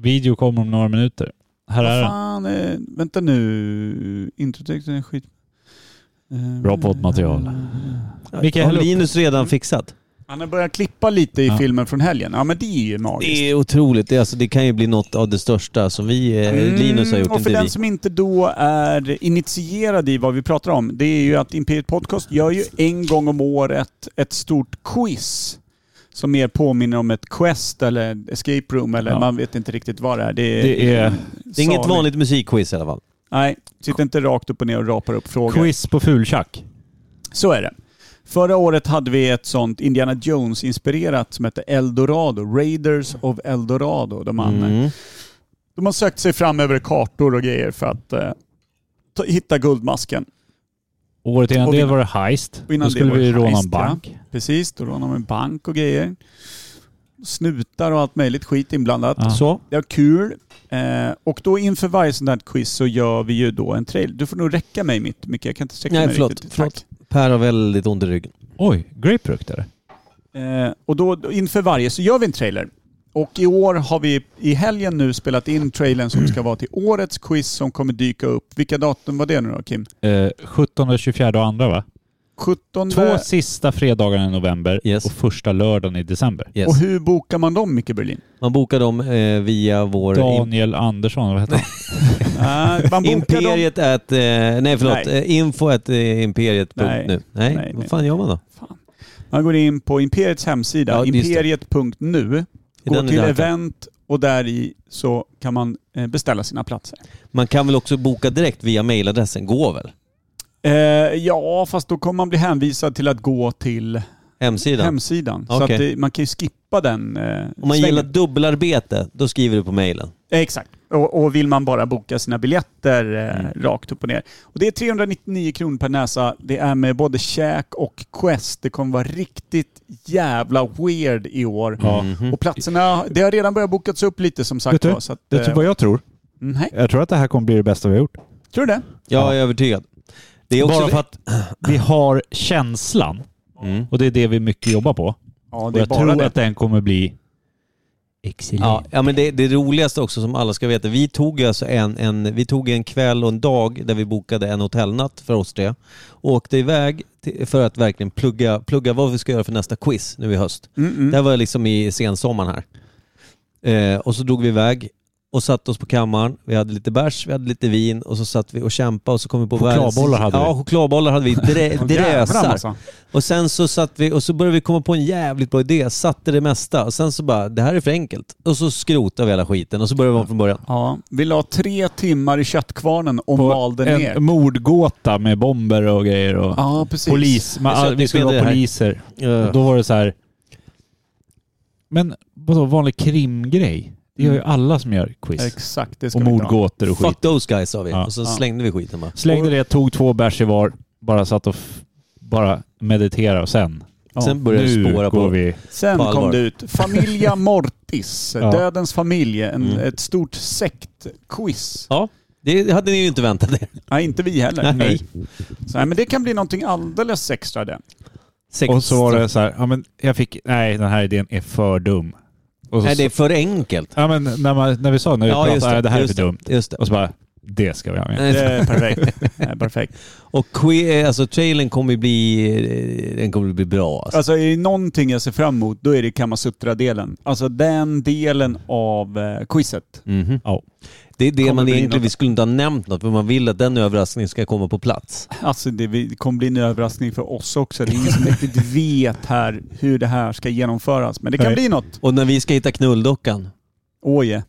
Video kommer om några minuter. Här
Vad
är den.
fan, eh, vänta nu. Introtexten är skit... Eh,
Bra poddmaterial. Micke,
Har
häll upp.
Linus redan fixat?
Han har börjat klippa lite i
Ja.
filmen från helgen. Ja men det är ju magiskt.
Det är otroligt. Det, är alltså, det kan ju bli något av det största som vi, eh, Linus har gjort,
Mm, och för
inte
den
vi.
som inte då är initierad i vad vi pratar om, det är ju att Imperiet Podcast gör ju en gång om året ett stort quiz. Som mer påminner om ett quest eller escape room eller
Ja.
man vet inte riktigt vad det är. Det är,
Det är-
eh,
Det är inget vanligt musikquiz i alla fall.
Nej, sitter inte rakt upp och ner och rapar upp frågor.
Quiz på fultjack.
Så är det. Förra året hade vi ett sånt Indiana Jones-inspirerat som hette Eldorado, Raiders of Eldorado. De, man,
Mm.
de har sökt sig fram över kartor och grejer för att eh, ta, hitta guldmasken.
Året innan
Och
det
vinna.
var det Heist.
Och innan
Då
det
skulle
var
vi
det
råna
heist,
en bank.
Precis, då rånar man en bank och grejer. Snutar och allt möjligt skit inblandat.
Ja.
Så.
Det var kul. Eh, och då inför varje sån där quiz så gör vi ju då en trail. Du får nog räcka mig mitt mycket. jag kan inte sträcka
Nej,
mig
förlåt,
riktigt. Tack.
förlåt. Per har väldigt ont i ryggen.
Oj, grapefrukt är det.
Eh, och då, då inför varje så gör vi en trailer. Och i år har vi i helgen nu spelat in trailern som ska vara till årets quiz som kommer dyka upp. Vilka datum var det nu då Kim?
Eh, 17, 24 och andra va?
17
Två sista fredagarna i november
Yes.
och första lördagen i december.
Yes.
Och hur bokar man dem Micke Berlin?
Man bokar dem eh, via vår...
Daniel Andersson, vad heter han?
Eh, man bokar dem...
Imperiet at, eh, nej förlåt,
Nej.
nej. info at eh, imperiet punkt
Nej.
nu. Nej,
Nej, nej.
vad fan gör man då?
Fan. Man går in på Imperiets hemsida,
Ja, just det.
imperiet.nu,
I
går
den
till
lilla-
event och där i så kan man eh, beställa sina platser.
Man kan väl också boka direkt via mailadressen, går väl?
Eh, ja, fast då kommer man bli hänvisad till att gå till
Hemsidan.
hemsidan. Så
Okej.
att det, man kan ju skippa den eh,
Om man
svängen.
gillar dubbelarbete, då skriver du på mailen.
Eh, Exakt. Och, och vill man bara boka sina biljetter eh,
Mm.
rakt upp och ner. Och det är 399 kronor per näsa. Det är med både käk och quest. Det kommer vara riktigt jävla weird i år. Och platserna, det har redan börjat bokas upp lite som sagt
Vet du?
var. Så att,
Vet du
eh,
vad jag tror?
nej,
Jag tror att det här kommer bli det bästa vi har gjort.
tror du det?
Jag
Ja.
är övertygad. Det är också
Bara för att
Mm.
vi har känslan
Mm.
och det är det vi mycket jobbar på.
Ja,
Och jag tror att den kommer bli excellent.
Ja, ja men det, det roligaste också som alla ska veta, vi tog alltså en, en, vi tog en kväll och en dag där vi bokade en hotellnatt för oss tre. Och åkte iväg till, för att verkligen plugga, plugga vad vi ska göra för nästa quiz nu i höst.
Mm,
Det här var liksom i sensommaren här. Eh, och så drog vi iväg och satte oss på kammaren. Vi hade lite bärs, vi hade lite vin och så satt vi och kämpade och så kom vi på
Chokladbollar hade vi.
Ja, chokladbollar hade vi. Drä,
Jävlar
drösar.
alltså.
Och sen så satt vi och så började vi komma på en jävligt bra idé, satte det mesta och sen så bara, det här är för enkelt. Och så skrotade vi hela skiten och så började vi om från början.
Ja, vill ha tre timmar i köttkvarnen och mal den
en
ner.
mordgåta med bomber och grejer och
Ja, precis.
polis. Man,
Jag ser att ni
vi skulle
spelade
vara
det här.
poliser.
Ja.
Och då var det så här. Men vadå, vanlig krimgrej? Det gör ju alla som gör quiz.
Exakt, det ska
Och
vi inte ha.
mordgåtor och
Eh, Fuck
skit.
those guys sa vi
Ja.
och så
Ja.
slängde vi skiten bara.
Slängde det, tog två bärs i var, bara satt och f- bara meditera och sen...
Ja.
Sen började det
nu
spåra
går
på.
vi.
Sen
På allvar.
kom det ut Familia Mortis,
Ja.
Dödens familj, en,
Mm.
ett stort sektquiz.
Ja, det hade ni ju inte väntat er.
Nej, inte vi heller.
Nej.
Så, nej, men det kan bli någonting alldeles extra det.
Sex.
Och så var det så här, ja men jag fick, nej den här idén är för dum. Och så,
Nej, det är för enkelt.
Ja men när, man, när vi sa, när vi
Ja,
pratade,
just
"Nej,
det,
det här är
just
för dumt.
Just det.
Och så Eh. bara, det ska vi ha med.
Det är perfekt. Det är perfekt.
Och que- alltså, trailern kommer ju bli, eh, den kommer bli bra alltså.
Alltså är det någonting jag ser fram emot, då är det Kamasutra-delen. Alltså den delen av eh, quizet.
Mhm.
Ja.
Det är det
Kommer
man
bli
egentligen,
något.
vi skulle inte ha nämnt något, men man vill att den överraskningen ska komma på plats.
Alltså det, vi- det kommer bli en överraskning för oss också. Det är ingen som riktigt vet här hur det här ska genomföras. Men det kan
Nej.
bli något.
Och när vi ska hitta knulldockan,
Åje.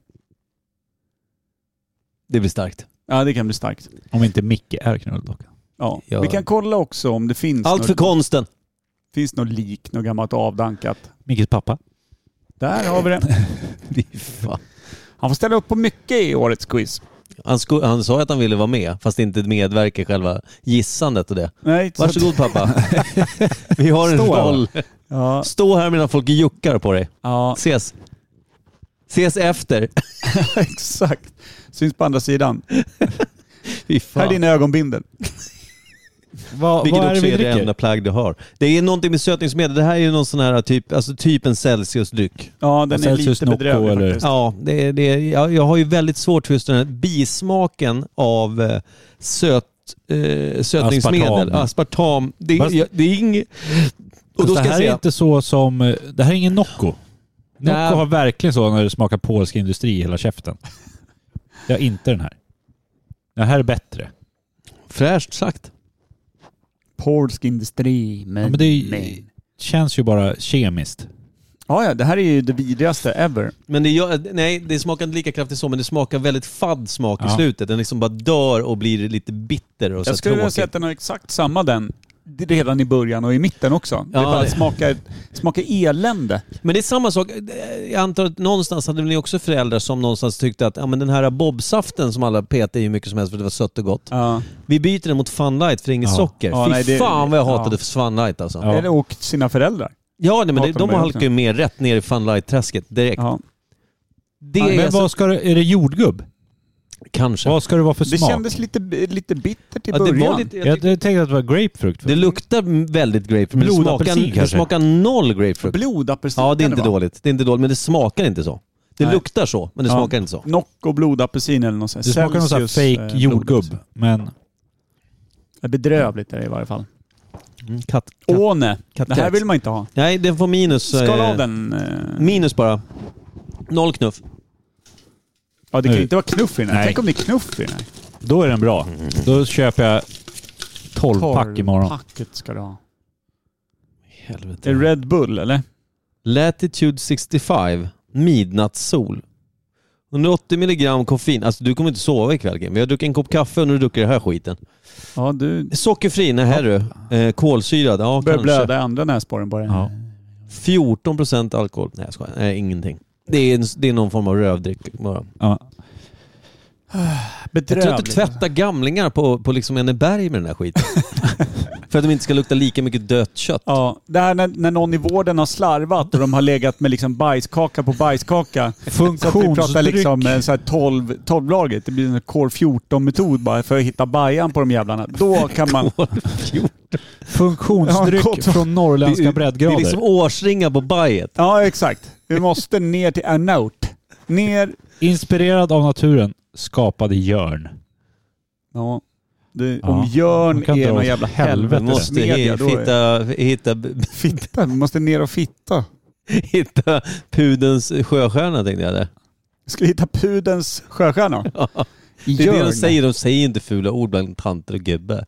det blir starkt.
Ja, det kan bli starkt.
Om inte Micke är knulldocka.
Ja.
Ja.
Vi kan kolla också om det finns
Allt för
något,
konsten.
finns något lik, något gammalt avdankat.
Mickes pappa.
Där har vi det. Han får ställa upp på mycket i årets quiz.
Han, sko- han sa ju att han ville vara med, fast inte medverka i själva gissandet och det.
Nej, så-
Varsågod pappa. Vi har en
Stå här,
roll.
Ja,
Stå här medan folk juckar på dig.
ja,
Ses. Ses efter.
exakt. Syns på andra sidan.
Fy
Här är
fan.
din ögonbindel.
Vad,
Vilket
vad är det
också
vi
är det enda
dricker?
plagg du har. Det är någonting med sötningsmedel. Det här är ju någon sån här typ, alltså typ en Celsius-dryck.
Ja, den är
Celsius
lite
Nocco
bedrövlig
eller-
faktiskt.
Ja, det, är- det, är- jag, jag har ju väldigt svårt för just den här bismaken av eh, söt, eh, sötningsmedel.
Aspartam.
Aspartam. Det, är-
Fast-
jag, det är inget... Och då
det
ska jag
här är
säga...
inte så som... eh, Det här är ingen Nocco. Nocco
Nej.
har verkligen så när det smakar polsk industri i hela käften. Det har inte den här. Den här är bättre.
Fräscht sagt.
Polsk industri. Men,
Ja, men det är- Känns ju bara kemiskt.
ja, ja, det här är ju det vidrigaste ever.
Men det, gör, nej, det smakar inte lika kraftigt så, men det smakar väldigt fadd smak i
Ja.
slutet. Den liksom bara dör och blir lite bitter och så
Jag skulle vilja
tråkig.
säga att den har exakt samma den redan i början och i mitten också.
Ja,
det bara
det-
smakar, smakar elände.
Men det är samma sak. Jag antar att någonstans hade ni också föräldrar som någonstans tyckte att ja, men den här bobsaften som alla petade i hur mycket som helst för det var sött och gott.
Ja.
Vi byter den mot Fun Light för inget
Ja.
socker.
Ja,
Fy
nej, det-
fan vad jag hatade
ja.
för Fun Light alltså. Ja,
Ja.
Eller och sina föräldrar.
nej, men det,
Hatar de
de
också.
halkar ju mer rätt ner i Fun Light-träsket direkt.
Ja.
Det
Men
är alltså-
vad
så,
ska det, är det jordgubb?
kanske.
Vad ska det vara för
Det
smak?
kändes lite, lite bittert i
Ja, det,
början.
var lite, jag
Jag
tyckte-
tänkte att det var grapefrukt.
det luktar väldigt grapefrukt, men det
Blodapelsin
smakar, det
kanske?
smakar noll grapefrukt.
Blodapelsin.
Ja, det är inte
eller vad?
dåligt. Det är inte dåligt, men det smakar inte så. Det
Nej.
luktar så, men det
Ja.
smakar inte så.
Nocco blodapelsin eller något sånt. eh,
Det smakar någon sån här
eh,
fake jordgubb. Men
Det är bedrövligt är det i varje fall.
Mm, katt, katt,
Åne.
katt,
Det här vill man inte ha.
Nej, den får minus. eh,
Skala av den. eh.
Minus bara. Noll knuff.
Ja, det kan
Nu.
ju inte vara knuff i den här.
Nej.
Tänk om det är knuff i den här.
då är den bra. Då köper jag 12 pack imorgon.
Packet ska du ha. Det
Helvete.
är Red Bull eller?
Latitude 65, midnattssol. 180 milligram koffein. Alltså du kommer inte sova ikväll Kim. Vi har druckit en kopp kaffe och nu dricker du den här skiten.
Ja, du
Sockerfri, nej herru. Eh, kolsyrad, ja
börjar
kanske.
blöda i andra näsborren bara.
Ja.
14% alkohol. Nej jag skojar. Nej, ingenting. Det är, en, det är någon form av rövdryck bara.
Ja.
Jag
Bedrövligt.
tror att du tvättar gamlingar på, på liksom Enneberg med den här skiten. För att de inte ska lukta lika mycket dött kött.
Ja, det här när, när någon i vården har slarvat och de har legat med liksom bajskaka på bajskaka. Så att vi pratar
Funktionsdryck.
liksom eh, så här 12, 12-laget. Det blir en Core 14-metod bara för att hitta bajan på de jävlarna. Då kan man... Ja,
Funktionsdryck
gott.
från
Det
norrländska
är- Det
breddgrader.
är liksom årsringar på bajet.
Ja, exakt. Vi måste ner till Ernaut. Ner...
Inspirerad av naturen, skapad i Jörn.
Ja. Det,
Ja.
Om
Man
Jörn
kan
är
dra
någon
åt
jävla
helvete.
Vi måste
helvetesmedia,
he-
då är...
hitta, hitta,
Fitta. Vi måste ner och fitta.
hitta pudens sjöstjärna tänkte jag där.
Ska vi hitta pudens sjöstjärna?
Det är det de
Jörn.
säger, de säger inte fula ord bland tanter och gubbe.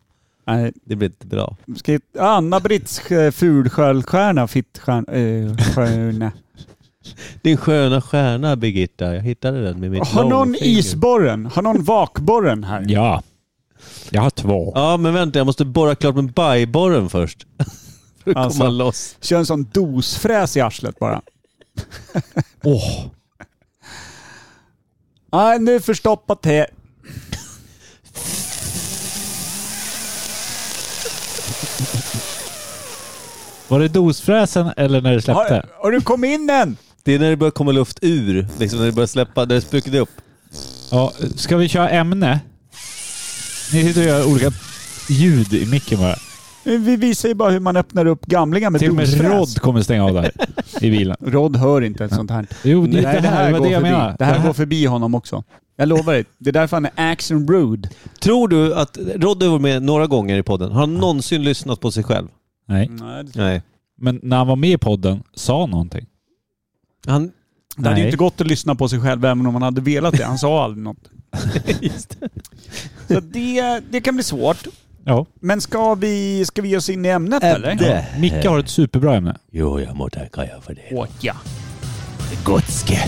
Nej,
Det blir inte bra.
Ska jag hitta- Anna-Britts eh, fulsköldstjärna, fittstjärna, eh, stjärna.
Din sköna stjärna Birgitta, jag hittade den med mitt
Har någon
långfinger.
isborren? Har någon vakborren här?
Ja. Jag har två.
Ja men vänta, jag måste borra klart med bajborren först. För att
Alltså.
komma loss.
Kör en sån dosfräs i arslet bara.
Åh.
Nej, nu förstoppat det.
Var det dosfräsen eller när det släppte?
Har, har du kommit in än?
Det är när det börjar komma luft ur, liksom när det börjar släppa, när det spruckade upp.
Ja, ska vi köra ämne? Ni sitter och gör olika ljud i micken bara.
Vi visar ju bara hur man öppnar upp gamlingar med
Till och med
dosfräs.
Rod kommer stänga av det här i bilen.
Rod hör inte ett sånt här.
Jo, det,
Nej,
det här var
går
det jag
förbi.
menade.
Det här går förbi honom också. Jag lovar dig. Det är därför han är action rude.
Tror du att, Rodde var med några gånger i podden, har han någonsin lyssnat på sig själv?
Nej,
Nej.
men när han var med i podden, sa han någonting?
Han,
Det hade ju
Nej.
inte gått att lyssna på sig själv även om han hade velat det. Han sa aldrig något.
just det.
Så det, det kan bli svårt.
Ja.
Men ska vi, ska vi ge oss in i ämnet
Ämne.
eller?
Det-
Micke har ett superbra ämne.
Jo, jag må tacka jag för det.
Åh, ja.
Gotske.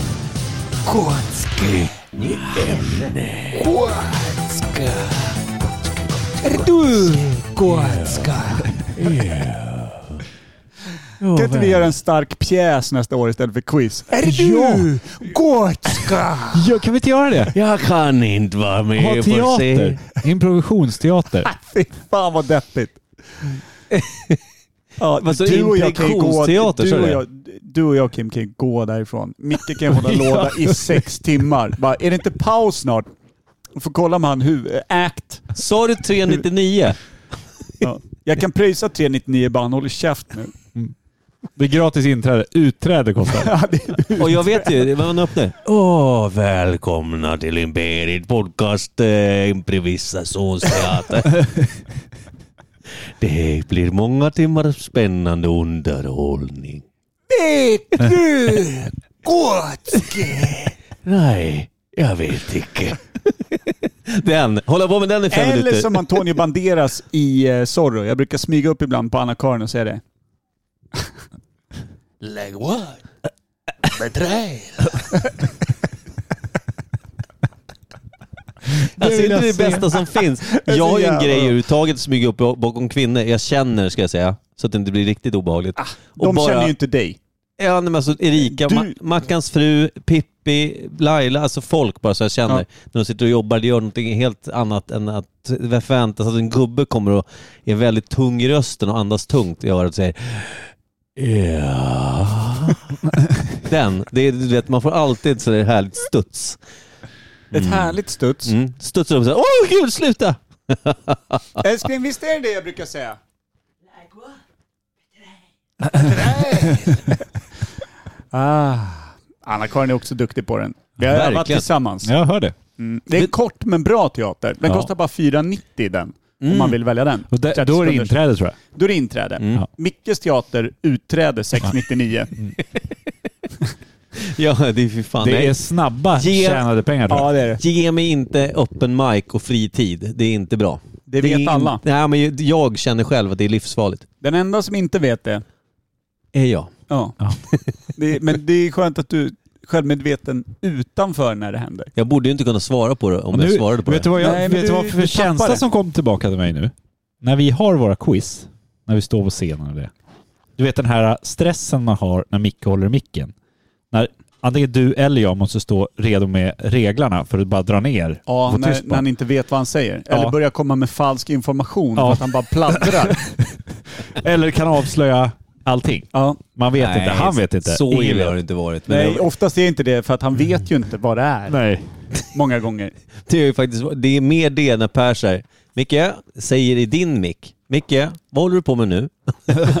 Skånsk. Skånsk.
Polska. Turkotska.
Kan inte vi göra en stark pjäs nästa år istället för quiz?
Är du gotska?
Ja, kan vi inte göra det?
Jag kan inte vara med.
Ha
jag får
teater. Improvisationsteater.
Fy fan vad deppigt. Ja,
Vad sa du?
du, och jag kan ju gå,
Infektionsteater, sa
du,
du
och
det?
jag, du och jag Kim kan ju gå därifrån. Micke kan ju hålla låda i sex timmar. Bara, är det inte paus snart? Får kolla med han huvud... Act.
Sa du 399?
Ja. Jag kan pröjsa 399 bara, han håller käft nu.
Det är gratis inträde. Utträde kostar.
Ja, det är
Och jag vet ju, det var en öppnare. Åh, välkomna till Imperiet Podcast eh, Improvisationsteater. Det blir många timmar spännande underhållning.
Vet du gotska?
Nej, jag vet inte. Den, hålla på med den i fem
Eller
minuter.
som Antonio Banderas i eh, Zorro. Jag brukar smyga upp ibland på Anna-Karin och säga det.
Like what? Betrayal.
Alltså inte
vill jag
det
se.
bästa som finns. Jag har ju en
jävla
grej
bra.
överhuvudtaget att smyga upp bakom kvinnor. Jag känner, ska jag säga. Så att det inte blir riktigt obehagligt.
Ah, De känner ju inte dig.
Ja, nej, men alltså Erika,
Du-
Ma- Mackans fru, Pippi, Laila, alltså folk bara så jag känner.
Ja.
När de sitter och jobbar, det gör någonting helt annat än att det förväntas att en gubbe kommer och är väldigt tung i rösten och andas tungt i örat och säger Ja. Den, det är, du vet, man får alltid ett sådär härligt studs.
Ett härligt studs.
Mm. Studsar upp såhär, åh gud sluta!
Älskling, Eh, visst är det det jag brukar säga? ah. Anna-Karin är också duktig på den. Vi har övat
Verkligen.
tillsammans.
Jag hör det.
Mm. Det är kort men bra teater. Den
Ja. Mm.
kostar bara 490 den. Om man vill välja den.
Och där,
30
då är det Mm.
stunders.
inträde tror jag.
Då är det inträde.
Ja.
Mickes teater, utträde 699.
Ja, det är för fan.
Det
nej.
är snabba
Ge-
tjänade pengar tror jag.
det är det.
Ge mig inte öppen mic och fri tid. Det är inte bra.
Det
är
vet
inte-
alla.
Nej, men jag känner själv att det är livsfarligt. Eh,
Den enda som inte vet det,
Är jag.
ja.
Ja.
det är, men det är skönt att du är självmedveten utanför när det händer.
Jag borde ju inte kunna svara på det om
Och nu,
jag svarade på
vet
det.
Du vad jag,
Nej, men
vet du
du-
vad
du
för
tappar
känsla
det.
som kom tillbaka till mig nu? När vi har våra quiz, när vi står på scenen och det. Du vet den här stressen man har när Micke håller i micken. När antingen du eller jag måste stå redo med reglarna för att bara dra ner. och
Ja,
få
när,
tyst på
när han inte vet vad han säger. Eller
Ja.
börjar komma med falsk information
Ja.
för att han bara pladdrar.
honom. Eller kan avslöja allting.
ja.
Man vet inte, han vet inte.
Så
Ingen
illa
vet.
har det inte varit. Men
Nej,
jag,
oftast är inte det för att han vet ju inte vad det är.
Nej.
Många gånger.
det, är ju faktiskt, det är mer det när Per säger Micke, säger i din mick. Micke, vad håller du på med nu?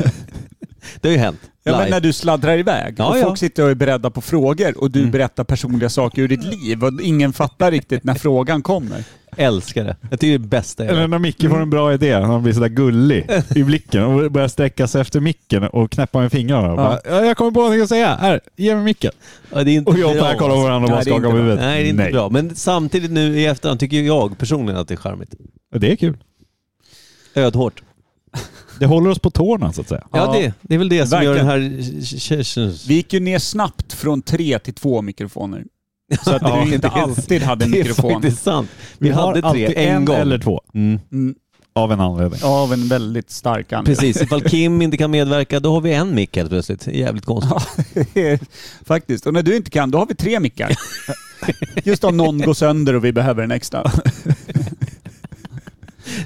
det har ju hänt.
Ja, men
Live.
när du sladdrar iväg
Ja,
och
ja.
folk sitter och är beredda på frågor och du berättar personliga saker ur ditt liv och ingen fattar riktigt när frågan kommer.
Älskar det. Jag tycker det är det bästa jag
Eller
vet.
när Micke får en bra idé, när han blir sådär gullig i blicken och börjar sträcka sig efter micken och knäppa med fingrarna. Och bara, ja. Jag kommer på någonting att säga. Här, ge mig micken.
Ja, det är inte
Och jag och
bra.
Per kollar på varandra och bara
Nej, det är
skakar på
inte
huvudet.
Nej, det är inte bra. Men samtidigt nu i efterhand tycker ju jag personligen att det är charmigt.
Det är kul.
Ödhårt.
Det håller oss på tårna så att säga.
Ja,
Ja.
Det, det är väl det som
Verkligen.
gör den här...
Vi gick ju ner snabbt från tre till två mikrofoner. Så att
Ja,
du inte
det är-
alltid hade en
Det är
mikrofon.
faktiskt sant. Vi, hade tre
alltid
en, gång.
eller två
Mm.
Mm,
av en anledning.
Av en väldigt stark anledning.
Precis, ifall Kim inte kan medverka då har vi en mick helt plötsligt. Det är Jävligt konstigt.
Faktiskt. Och när du inte kan, då har vi tre mickar. Just om någon går sönder och vi behöver en extra.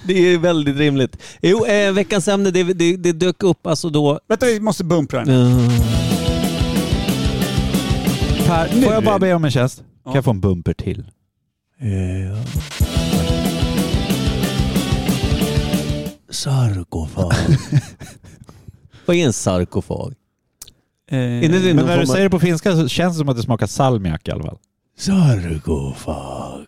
Det är väldigt rimligt. Jo, eh, veckans ämne, det, det, det dök upp alltså då...
Vänta, vi måste bumpra den.
Eh,
Per,
nu-
får jag bara be om en tjänst?
Ja.
Kan jag få en bumper till?
sarkofag. Vad är en sarkofag?
Eh,
Är det någon
Men när du
form av-
säger det på finska så känns det som att det smakar salmiak i alla fall.
Sarkofag.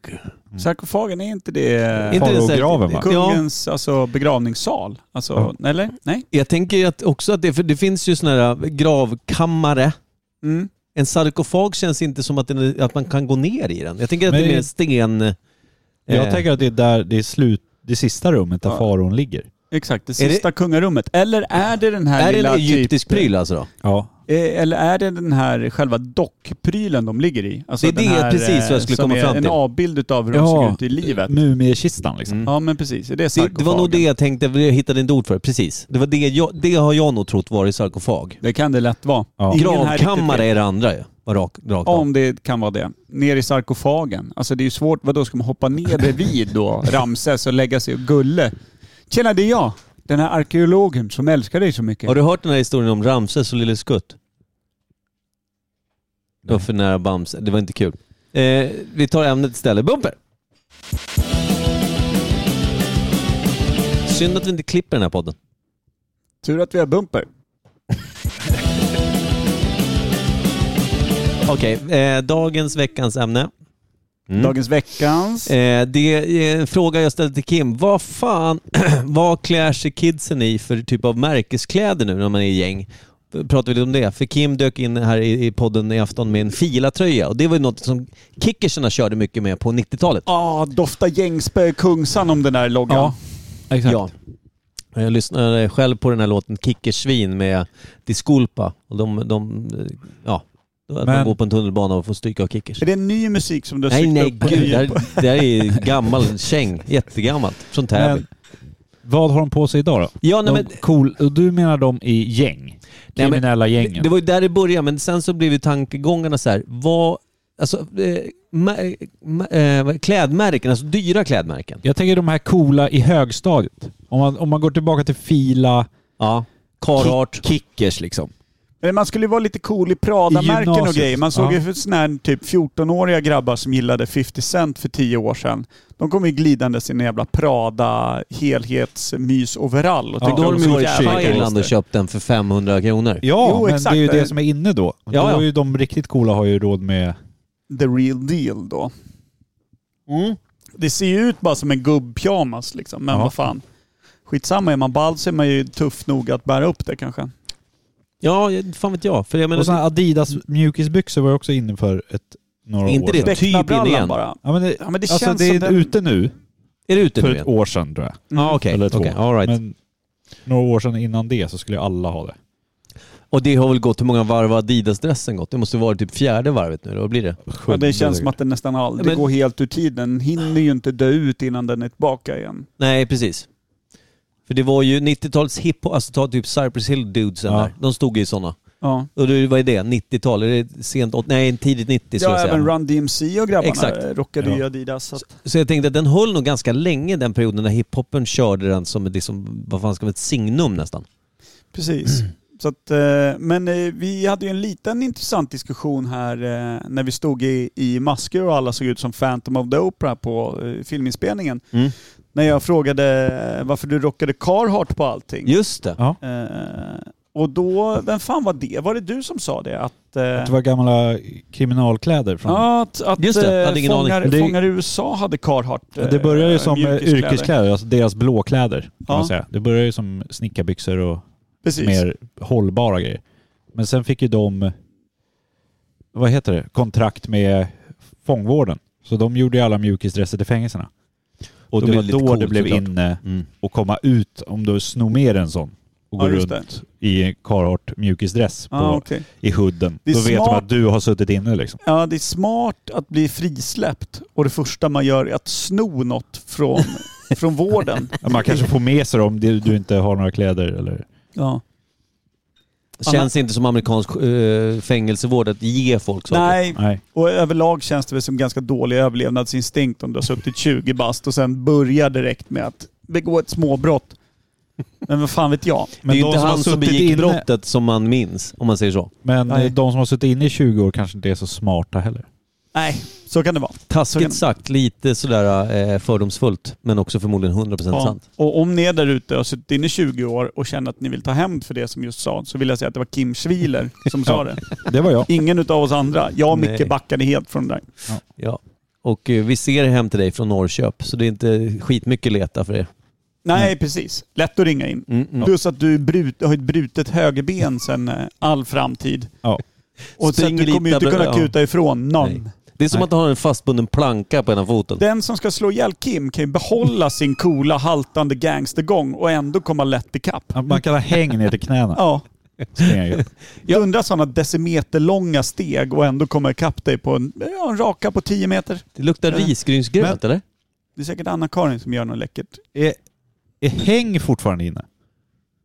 Mm. Sarkofagen, är inte det
Inte det så här-
Faraograven, va?
kungens alltså, begravningssal? Alltså, Eller? Nej?
Jag tänker att också att det, för det finns ju sådana här gravkammare.
Mm.
En sarkofag känns inte som att, den, är- att man kan gå ner i den. Jag tänker att
Men
det är
det-
mer sten...
Jag
eh,
tänker att det är där det är slut, det sista rummet där
Ja.
faron ligger.
Exakt, det
Är det-
sista kungarummet. Eller är det den här
Är det
lilla
en egyptisk
typ-
pryl alltså då?
Ja.
Eh, Eller är det den här själva dockprylen de ligger i? Alltså
Det är
den
det
här,
precis vad jag
eh,
skulle
som
komma
är
fram till.
en avbild utav hur de ser ut i livet.
Mm. Mumiekistan
Mm.
liksom.
Ja men precis, är det
Det, det var nog det
sarkofagen?
jag tänkte, jag hittade inte ord för det. Precis. Det, var det, jag, det har jag nog trott var i sarkofag.
Det kan det lätt vara.
Ja.
Ingen här riktigt
Gravkammare
vet.
är det andra ju. Var rak, rakt
Ja,
av.
om det kan vara det. Ner i sarkofagen. Alltså det är ju svårt, vadå ska man hoppa ner bredvid då Ramses och lägga sig och gulle? Tjena det är jag, den här arkeologen som älskar dig så mycket.
Har du hört den här historien om Ramses och Lille Skutt? Det var för nära Bamse. Det var inte kul. Eh, vi tar ämnet istället. Bumper! Synd att vi inte klipper den här podden.
Tur att vi har bumper.
Okej, eh, dagens veckans ämne. Mm.
Dagens veckans.
Eh, det är en fråga jag ställde till Kim. Vad fan, vad klär sig kidsen i för typ av märkeskläder nu när man är i gäng? Pratar vi lite om det? För Kim dök in här i i podden i afton med en Fila-tröja och det var ju något som kickerserna körde mycket med på 90-talet.
Ah, dofta gängspö Kungsan om den där loggan.
Ja. Exakt.
Ja. Jag lyssnade själv på den här låten Kickersvin med Disculpa. Och de, de, ja, att man
Men-
går på en tunnelbana och får stryka av kickers.
Är det ny musik som du har
Nej
sykt
nej
upp på
gud, det
ny-
här, det här är ju gammal käng. Jättegammalt. Från Täby.
Men, vad har de på sig idag då?
Ja, nej,
de,
men,
cool, och du menar de i gäng?
men-
Kriminella
Det,
gängen?
det var ju där det började, men sen så blev ju tankegångarna så här, vad, alltså, eh, ma- ma- eh, vad- klädmärken, alltså dyra klädmärken.
Jag tänker de här coola i högstadiet. Om man, om man går tillbaka till Fila,
Ja. Carhartt.
Kickers liksom.
Men Man skulle ju vara lite cool i Prada-märken och
gymnasiet.
grejer. Man såg
Ja.
ju sådana här typ 14-åriga grabbar som gillade 50 Cent för 10 år sedan. De kom ju glidande i sina jävla Prada helhetsmysoverall och
Ja,
tyckte
då har
de
de
var
ju
så
varit i
jävla
Thailand och
coola.
köpt den för 500 kronor.
Ja,
Jo,
men
exakt.
det är ju det som är inne då. då
ja.
är ju de riktigt coola har ju råd med...
The real deal då. Det ser ju ut bara som en gubbpyjamas liksom, men
Mm. Ja.
vad fan. Skitsamma, är man ball så är man ju tuff nog att bära upp det kanske.
Ja, jag- fan vet jag. För jag menar,
Och sådana Adidas mjukisbyxor var ju också inne för ett, några
Inte
år
det
sedan.
typ in
Becknarbrallan
igen.
bara.
Ja men det,
Ja, men det
alltså,
känns
det är
som den- Mm.
ute nu.
är det ute
För
nu
ett
igen?
år sedan tror jag.
Ja, okej.
Eller två.
okej, all right.
Men några år sedan innan det så skulle ju alla ha det.
Och det har väl gått, hur många varv har Adidas-dressen gått? Det måste vara typ fjärde varvet nu, eller vad blir det?
Ja, det känns som att den nästan aldrig
Men-
går helt ur tiden. Den hinner ju inte dö ut innan den är tillbaka igen.
Nej, precis. För det var ju 90-talets hiphop, alltså ta typ Cypress Hill-dudesen
Ja.
där. De stod ju i sådana.
Ja.
Och det, vad är det? 90-tal? Är det sent åt- Nej, tidigt 90 skulle
Ja,
jag säga.
även Run DMC och grabbarna
Exakt.
eh, rockade ju
Ja.
Adidas. Så att,
Så jag tänkte att den höll nog ganska länge den perioden när hiphopen körde den som ett, liksom, vad fan ska man, ett signum nästan.
precis. Så att, eh, men eh, vi hade ju en liten intressant diskussion här eh, när vi stod i, i masker och alla såg ut som Phantom of the Opera på eh, filminspelningen.
Mm.
När jag frågade eh, varför du rockade Carhartt på allting.
Just det.
Ja.
Eh, och då, vem fan var det? Var det du som sa det? Att, eh,
Det var gamla kriminalkläder från...
Ja, att, att
Just det,
eh,
hade ingen
fångar,
aning. Det-
fångar i USA hade Carhartt. eh,
Det började ju som eh,
mjukiskläder.
yrkeskläder, alltså deras blåkläder. Kan
Ja.
man säga. Det började ju som snickarbyxor och
Precis.
mer hållbara grejer. Men sen fick ju de, vad heter det, kontrakt med fångvården. Så de gjorde ju alla mjukisdresser till fängelserna. Och
De
det
är
var
lite
då
coolt,
det blev
såklart.
inne
Mm.
och komma ut om du snor med en sån och
Ja,
går
just
runt i Carhartt mjukisdress på,
Ja, okej.
i hooden.
Det är
Då vet de
smart.
att du har suttit inne liksom.
ja, det är smart att bli frisläppt och det första man gör är att sno något från, från vården.
Ja, Man kanske får med sig dem om du inte har några kläder eller...
Ja.
Känns inte som amerikansk eh, fängelsevård att ge folk saker.
Nej,
Nej.
och överlag känns det väl som ganska dålig överlevnadsinstinkt om du har suttit 20 bast och sen börjar direkt med att begå ett småbrott. Men vad fan vet jag?
det är ju
de
inte
har
han som
suttit
begick
inne-
brottet som man minns, om man säger så.
Men
Nej.
eh, de som har suttit inne i 20 år kanske inte är så smarta heller.
Nej, så kan det vara. Så kan-
Taskigt sagt, lite sådär eh, fördomsfullt, men också förmodligen 100%
Ja.
sant.
Och om ni är där ute och har suttit inne i 20 år och känner att ni vill ta hämnd för det som just sa, så vill jag säga att det var Kim Schwiler som sa det.
Det var jag.
Ingen utav oss andra. Jag och
Nej.
Micke backade helt från det där.
Ja. Och eh, vi ser hem till dig från Norrköp, så det är inte skitmycket leta för er.
Nej, precis. Lätt att ringa in.
Mm, mm.
Plus att du är brut, har ett brutet högerben sedan eh, all framtid.
Ja.
Och så att
Springer
du kommer ju
lite
inte
bra-
kunna
ja.
kuta ifrån någon.
Nej. Det är som
Nej.
att han har en fastbunden planka på ena foten.
Den som ska slå ihjäl Kim kan ju behålla sin coola haltande gangstergång och ändå komma lätt ikapp.
Ja, Man kan ha häng ner till knäna.
Ja.
Springer ju.
Jag undrar sådana decimeterlånga steg och ändå komma ikapp dig på en, ja, en raka på 10 meter.
Det luktar risgrynsgröt eller?
Det är säkert Anna-Karin som gör något läckert.
Är, är häng fortfarande inne?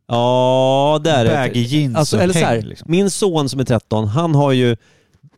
Ja, där är
Baggy jeans
Alltså,
och
eller så här,
häng liksom.
min son som är 13, han har ju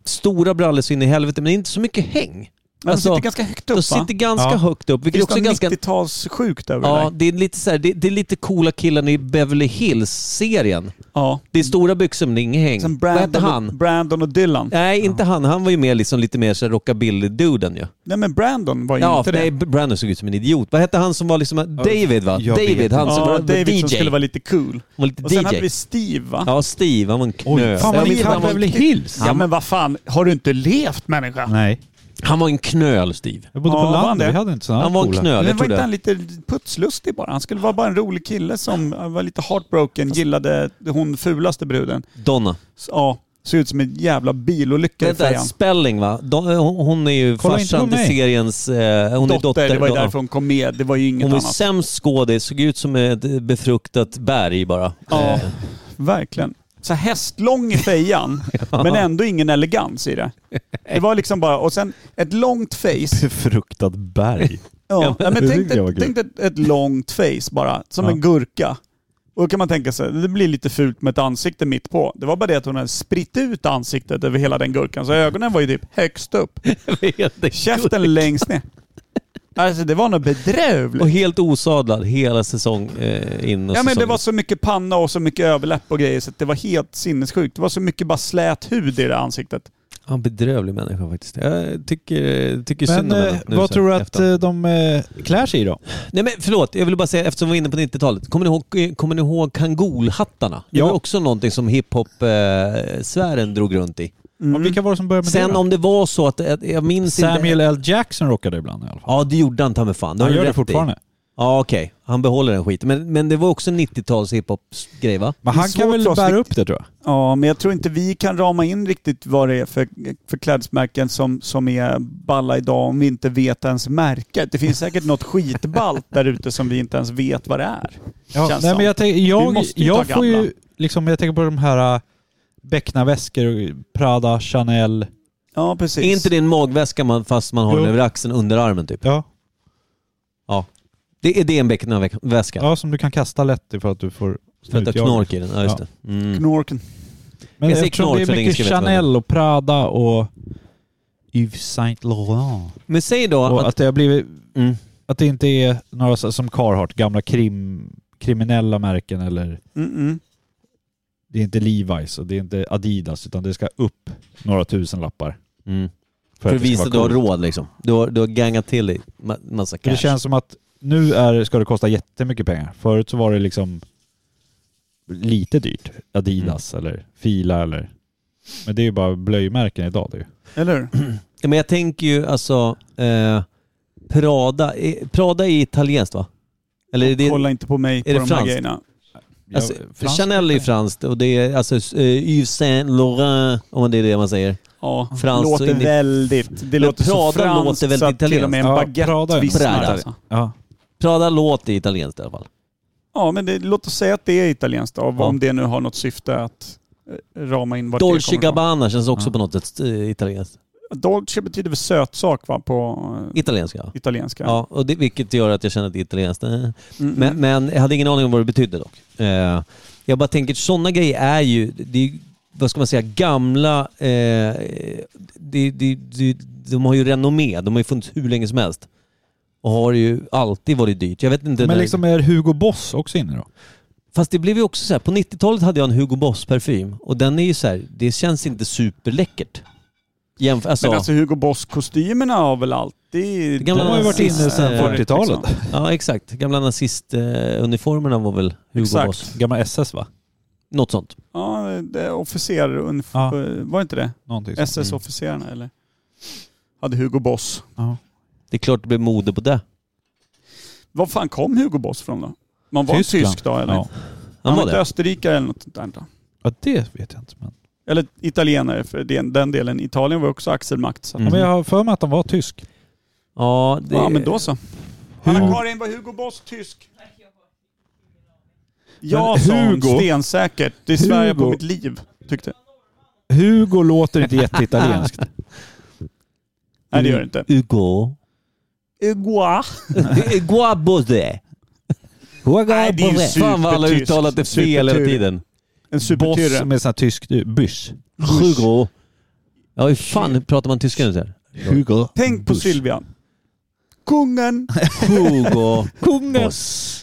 stora brallor så in i helvete men inte så mycket häng.
Men
Alltså,
de sitter ganska högt
De
upp va?
sitter ganska
Ja.
högt upp,
Det
vilket
är liksom
också är ganska...
90-talssjukt över
Ja,
det där.
det är, lite så här, det, det är lite coola killen i Beverly Hills-serien.
Ja.
Det är stora byxor men det är inget häng.
Sen
Vad hette
Brandon,
han?
Brandon och Dylan.
Nej, inte han. Han var ju mer liksom lite mer så här rockabilly-duden ju.
Nej men Brandon var ju
Ja,
inte
nej,
det.
Brandon såg ut som en idiot. Vad hette han som var liksom... David va?
jag vet
David, han som
ja,
var
David
DJ.
som skulle vara lite cool.
Han var lite
Och sen hade
DJ.
vi Steve va?
Ja, Steve, han var en knöl.
Oj, fan vad
Jag
min
ni
minns
kan
han, var,
Beverly Hills?
Ja men vad fan, har du inte levt människa?
Nej.
han var en knöl, Steve.
Jag bodde
Ja,
på
var han
landet.
det?
Vi hade inte sådana
Han var en
coola.
knöl,
Men
jag
var
tror
inte han
det.
lite putslustig bara? Han skulle vara bara en rolig kille som var lite heartbroken, gillade hon fulaste bruden.
Donna.
Så, ja, såg ut som en jävla bilolycka i
Vänta,
fejan.
Spelling va? Don, hon, hon är ju
Kolla inte
farsan
på
till
mig.
seriens... Eh, hon är dotter.
Dotter, det var ju
ja.
därför hon kom med. Det var ju inget
Hon var ju
annat.
sämst skådis, såg ut som ett befruktat berg bara.
Ja, verkligen. Så hästlång i fejan, men ändå ingen elegans i det. Det var liksom bara, och sen ett långt face.
Befruktat berg.
Ja,
men-
men
Det
tänk
tyckte jag var
dig
kul.
tänk dig ett, ett långt face bara, som
Ja.
en gurka. Och då kan man tänka sig, det blir lite fult med ett ansikte mitt på. Det var bara det att hon hade spritt ut ansiktet över hela den gurkan, så ögonen var ju typ högst upp. Käften längst ner. Alltså det var något bedrövligt.
Och helt osadlad hela säsong eh, in och
Ja men det
säsongen.
var Alltså, så mycket panna och så mycket överläpp och grejer så att det var helt sinnessjukt. Det var så mycket bara slät hud i det ansiktet.
Ja, bedrövlig människa faktiskt. Jag tycker, tycker synd
Men
om
eh,
henne nu
vad
så
tror du
här i
att
efterhand.
eh, de eh, klär sig i då?
Nej men förlåt, jag vill bara säga eftersom vi var inne på 90-talet. Kommer ni ihåg, kommer ni ihåg kangolhattarna? Det
Ja.
var också någonting som hiphop-sfären drog runt i.
Mm.
Och Vilka var det som började med
Sen
det?
om det var så att, att jag minns
Samuel
inte...
L. Jackson rockade ibland i alla fall.
Ja det gjorde han ta mig fan. Det har
Han
du
gör det
rätt i.
fortfarande.
Ja okej, han behåller den skiten. Men, men det var också 90-tals hiphop-grej va?
Men
Det är
han kan
svårt för
väl
oss
bära
riktigt.
upp det tror jag.
Ja men jag tror inte vi kan rama in riktigt vad det är för, för klädesmärken som, som är balla idag om vi inte vet ens märket. Det finns säkert något skitballt där ute som vi inte ens vet vad det är.
Ja,
Känns
nej,
som.
men jag, tänk, jag,
måste ju
jag
ta
får
gamla.
ju liksom, jag tänker på de här äh, Becknarväskor, Prada, Chanel.
Ja precis.
Är inte det en magväska man, fast man har
Jo.
den över axeln under armen typ?
Ja,
Det är det en Becknarväska?
ja, som du kan kasta lätt i för att du får
För att det
snutjag.
har knork i den? Ja, just
Ja.
det. Mm.
Knorken.
Men
Jag säger
eftersom
knork
det
för
är
att ingen
mycket
ska veta vad det är.
Chanel och Prada och Yves Saint Laurent.
Men säg då
Och
att...
att det har blivit,
Mm.
att det inte är några så- som Carhartt, gamla krim, kriminella märken eller
Mm-mm.
det är inte Levi's och det är inte Adidas utan det ska upp några tusen lappar.
Mm. För
För, att
att
det ska
visa
vara
att du har
coolt.
råd liksom. Du har, du har gangat till dig ma- massa
För
cash.
det känns som att nu är, ska det kosta jättemycket pengar. Förut så var det liksom lite dyrt. Adidas eller Fila eller... Men det är ju bara blöjmärken idag det är ju.
Eller hur?
Ja, Men jag tänker ju alltså... Eh, Prada, eh, Prada är italienskt va? Eller är det...
Kolla inte på mig på
det
de här
franskt?
grejerna.
Alltså,
Ja,
Chanel är ju franskt och det är alltså eh, Yves Saint Laurent, om det är det man säger.
Ja,
Franskt så
låter
in i-
väldigt... Det låter så
Prada låter
franskt
väldigt
så att till och med en
italienskt. Ja,
baguette
Prada är
vissnar.
Prada.
Alltså.
Ja.
Prada låter italienskt i alla fall.
Ja, men det, låt oss säga att det är italienskt då,
Ja.
om det nu har något syfte att eh, rama in vart det
Dolce
kommer ifrån.
Gabbana känns också
Ja.
på något sätt eh, italienskt.
Dolce betyder väl sötsak va, på eh,
Italienska ja.
italienska?
Ja, och det, vilket gör att jag känner att det är italienskt. Eh.
Mm,
Men, men jag hade ingen aning om vad det betydde dock. Eh, jag bara tänker, sådana grejer är ju, det är, ju- vad ska man säga, gamla... Eh, det, det, det, de har ju renommé, de har ju funnits hur länge som helst. Och har ju alltid varit dyrt. Jag vet inte...
Men
när-
liksom är Hugo Boss också inne då?
Fast det blev ju också så här, på 90-talet hade jag en Hugo Boss-parfym och den är ju så här, det känns inte superläckert. Jämf- alltså,
Men alltså Hugo Boss-kostymerna har väl alltid...
Det gamla
De har ju varit inne sedan
Eh,
40-talet.
liksom.
Ja exakt, gamla nazistuniformerna var väl Hugo
Exakt.
Boss.
Gamla SS va?
Något sånt.
Ja, det är officer... unif-
Ja.
Var det inte det?
Någonting sånt.
SS-officerarna eller? Hade Hugo Boss.
Ja.
Det är klart det blev mode på det.
Var fan kom Hugo Boss från då? Man var
Tyskland.
tysk då eller?
Ja.
Han
Han var
var
inte
det.
österrikare eller något sånt där då?
ja, det vet jag inte. Men...
Eller italienare, för den, den delen. Italien var också axelmakt. Så. att-
Mm.
Men jag har för mig att de var tysk.
Ja, det...
Ja men då så. Anna-Karin, var Hugo Boss tysk? Ja,
Men
sa hon
Hugo-
stensäkert. Det är Sverige på
Hugo-
mitt liv, tyckte
Hugo låter inte jätteitalienskt.
Nej, det gör det inte.
Ugo.
Ugua.
Guabose.
Nej, det är ju
Fan vad alla
supertyskt.
uttalat det fel hela
Supertur.
tiden.
En
Boss
supertyrre.
med sån här tyskt bysch.
Hugo. Ja, hur fan pratar man tyska nu? så här?
Hugo.
Tänk på
Busch.
Sylvia. Kungen.
Hugo.
Kungen.
Boss.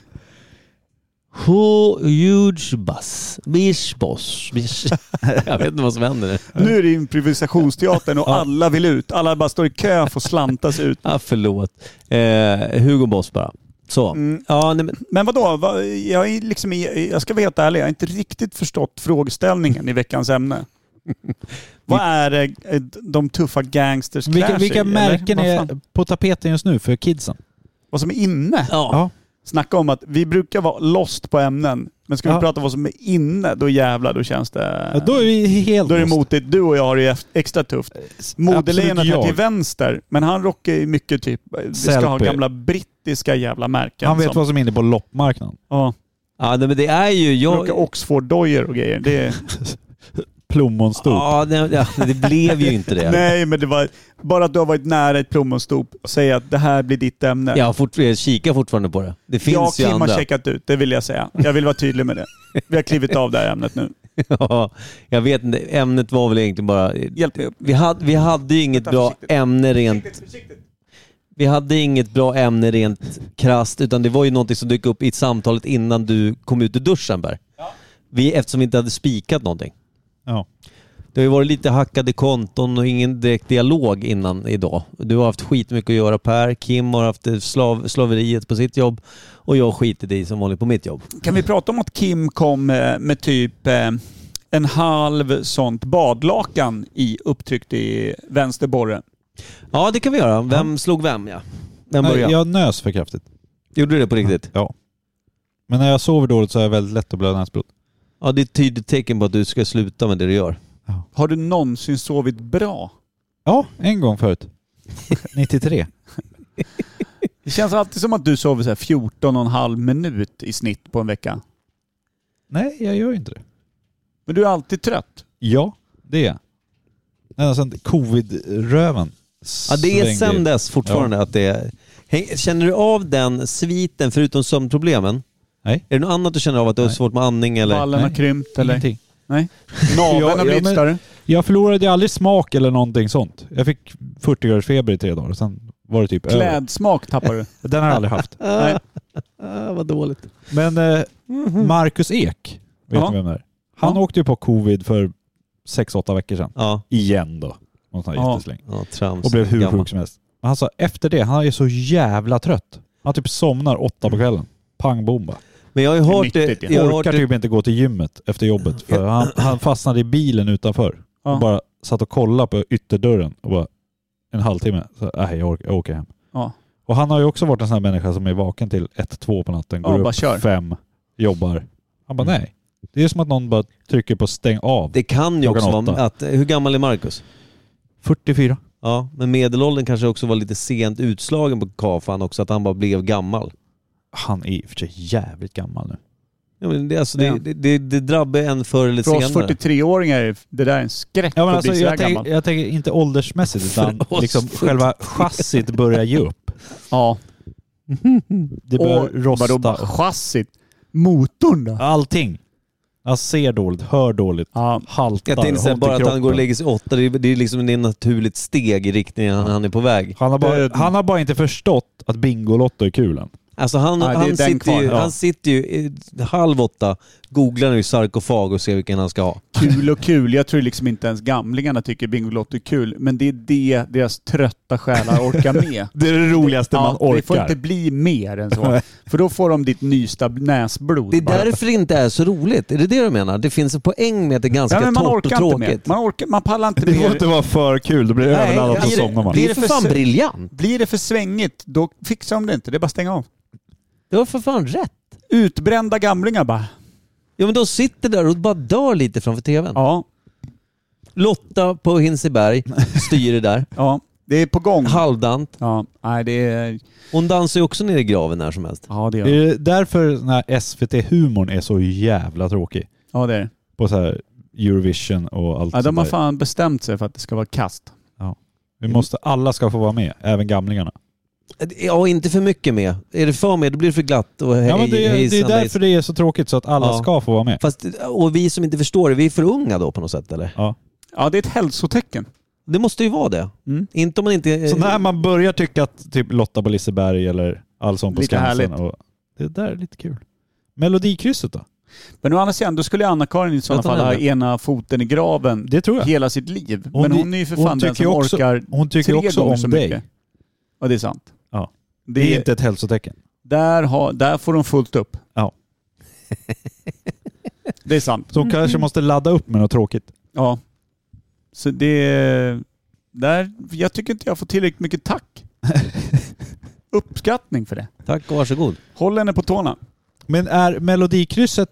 Hu- Huge bus. Bish boss. Bish. Jag vet inte vad som händer.
Nu är det improvisationsteatern och alla vill ut. Alla bara står i kö för att slantas ut.
Ah, förlåt. Eh, Hugo Boss bara. Så.
Mm.
Ja, nej, men,
Men vadå? Va- Jag, är liksom, i- jag ska vara helt ärlig, jag har inte riktigt förstått frågeställningen i veckans ämne. Vad är det eh, de tuffa gangsters
Vilka,
klär sig i,
vilka
eller?
märken
Vad
är
fan?
på tapeten just nu för kidsen?
Vad som är inne?
ja.
Snacka om att vi brukar vara lost på ämnen. Men ska vi
Ja.
prata om vad som är inne, då jävlar, då känns det...
Ja, då är vi helt
Då är det
lost.
motigt. Du och jag har det ju extra tufft. Modelejonet
Absolut
är till
jag.
vänster, men han rockar ju mycket typ... Vi ska ha
Sellpy.
gamla brittiska jävla märken.
Han vet
som-
vad som är inne på loppmarknaden.
Ja,
ja nej, men det är ju... Jag,
rocka Oxford-dojor och grejer. Det är...
Plommonstop.
ja, nej, ja, det blev ju inte det.
Nej, men det var... Bara att du har varit nära ett plommonstop, säg att det här blir ditt ämne.
Jag har fort, jag kikar fortfarande på det. Det finns
jag
ju
Kim har
andra.
checkat ut, det vill jag säga. Jag vill vara tydlig med det. Vi har klivit av det här ämnet nu.
Ja, jag vet inte. Ämnet var väl egentligen bara...
Hjälp mig upp.
Vi hade, vi hade ju inget
Vänta,
bra
försiktigt.
ämne rent...
Försiktigt, försiktigt.
Vi hade inget bra ämne rent krasst, utan det var ju någonting som dök upp i samtalet innan du kom ut ur duschen, Berg. Vi, eftersom vi inte hade spikat någonting.
Ja.
Det har ju varit lite hackade konton och ingen direkt dialog innan idag. Du har haft skitmycket att göra Per, Kim har haft eh, slav, slaveriet på sitt jobb och jag skiter i som vanligt på mitt jobb.
Kan vi prata om att Kim kom eh, med typ eh, en halv sånt badlakan i, upptryckt i vänster borre?
Ja, det kan vi göra. Vem slog vem, ja. Vem
Nej,
började?
jag nös för kraftigt.
Gjorde du det på riktigt?
Ja. Men när jag sover dåligt så är jag väldigt lätt att blöda näsblod.
Ja, det är ett tydligt tecken på att du ska sluta med det du gör.
Har du någonsin sovit bra?
Ja, en gång förut. 93.
Det känns alltid som att du sover så här 14 och en halv minut i snitt på en vecka.
Nej, jag gör inte det.
Men du är alltid trött.
Ja, det är jag. Ända sedan covid-röven.
Ja, det är
svängde
sen
in.
dess fortfarande att det är... Häng- Känner du av den sviten förutom sömnproblemen?
Nej.
Är det något annat du känner av? Att du har
Nej.
svårt med andning eller?
Ballen har
Nej.
krympt eller?
Ingenting.
Naveln
Ja,
har
ja,
blivit
men-
större.
Jag förlorade ju aldrig smak eller någonting sånt. Jag fick 40 graders feber i tre dagar. Sen var det typ över.
Klädsmak tappar du.
Den har jag aldrig haft.
Nej.
Ah, vad dåligt.
Men eh, Marcus Ek, vet
Ja.
ni vem det är? Han
Ja.
åkte ju på covid för 6-8 veckor sedan.
Ja,
Igen då. Någon sån här
Ja.
jättesläng.
ja trams.
Och blev hur
Gammal.
sjuk som helst. Men han sa efter det, han är så jävla trött. Han typ somnar åtta på kvällen. Pang bomba.
Men jag har ju hört
Mm. Det
det...
är nyttigt,
Jag har hört
Orkar
det
typ inte gå till gymmet efter jobbet. För han, han fastnade i bilen utanför.
Ja.
Och bara satt och kollade på ytterdörren och bara en halvtimme. Så, nej, jag, orkar, jag åker hem.
Ja.
Och han har ju också varit en sån här människa som är vaken till 1-2 på natten.
Ja,
Går
bara
upp
kör.
fem, jobbar. Han bara nej. Det är som att någon bara trycker på stäng av.
det kan ju
Klockan
också vara
åtta.
att... Hur gammal är Marcus?
44.
Ja, men medelåldern kanske också var lite sent utslagen på kafan också, att han bara blev gammal.
Han är i och för sig jävligt gammal nu.
Ja, men det, alltså,
Ja.
det, det, det, det drabbar en förr eller
För oss
senare.
43-åringar är det där en skräck
Ja, men
att
alltså,
bli så där
jag,
gammal.
tänker, jag tänker inte åldersmässigt utan
För oss
liksom själva chassit börjar ge upp.
Ja.
Det börjar rosta.
Vadå chassit? Motorn då?
Allting. Jag ser dåligt, hör dåligt,
Ja.
haltar,
Jag tänkte säga
har ont i
bara att han
kroppen.
går och lägger sig åtta, det är, det är liksom det är ett naturligt steg i riktningen han, han är på väg.
han har, bara,
Döden.
han har bara inte förstått att Bingolotto är kul än.
Alltså han,
Nej, det är
han,
den
sitter
kvar,
ju,
ja.
han sitter ju i- halv åtta, googlar nu sarkofag och ser vilken han ska ha.
Kul och kul. Jag tror liksom inte ens gamlingarna tycker Bingolotto är kul. Men det är det deras trötta själar orkar med.
Det är det roligaste man
Det får
orkar.
inte bli mer än så. För då får de ditt nysta näsblod.
Det är
bara.
därför det inte är så roligt. Är det det du menar? Det finns en poäng med att det är ganska
ja, men man
torrt och
orkar inte mer.
tråkigt.
Man, orkar, man pallar inte
Det får
mer.
inte vara för kul, då blir det
Nej,
överladdat och
alltså,
somnar man.
Det
det
är
är
för
för
fan
se-
briljant.
Blir det för svängigt, då fixar de det inte. Det är bara att stänga av.
Du har för fan rätt.
Utbrända gamlingar bara.
Ja men de sitter där och bara dör lite framför tvn.
Ja.
Lotta på Hinseberg styr det där.
Ja, det är på gång.
Halvdant.
Ja, nej det är...
Hon dansar ju också ner i graven när som helst.
Ja det
Det
är
är därför den här SVT-humorn är så jävla tråkig.
Ja det är det.
På så här Eurovision och allt
ja, De har
sånt där.
fan bestämt sig för att det ska vara kast.
Vi måste, alla ska få vara med, även gamlingarna.
Ja, inte för mycket med. Är det för med, då blir det för glatt och hej,
ja, men det, är- det
hejsan,
är därför
hejsan.
det är så tråkigt så att alla
Ja.
ska få vara med.
Fast, och vi som inte förstår det, vi är för unga då på något sätt eller?
Ja det är ett hälsotecken.
Det måste ju vara det.
Mm.
Inte om man inte...
Så
eh,
när man börjar tycka att typ Lotta på Liseberg eller Allsång på
Lite
Skansen.
härligt.
Och, det där är lite kul. Melodikrysset då?
Men å andra sidan, då skulle Anna-Karin i sådana
Låt henne
fall ha
henne.
ena foten i graven
Det tror jag.
hela sitt liv.
Hon
Men
vi-
hon är ju för
hon
fan den
tycker
som
ju också-
orkar
Hon tycker
tre
också
gånger
om
så
dig.
mycket. Ja det är sant.
Ja.
Det,
Det är inte ett hälsotecken.
där, har, där får de fullt upp.
Ja.
det är sant.
Så hon kanske
mm.
måste ladda upp med något tråkigt.
Ja. Så det... Där, jag tycker inte jag får tillräckligt mycket tack. Uppskattning för det.
Tack och varsågod.
Håll henne på tårna.
Men är melodikrysset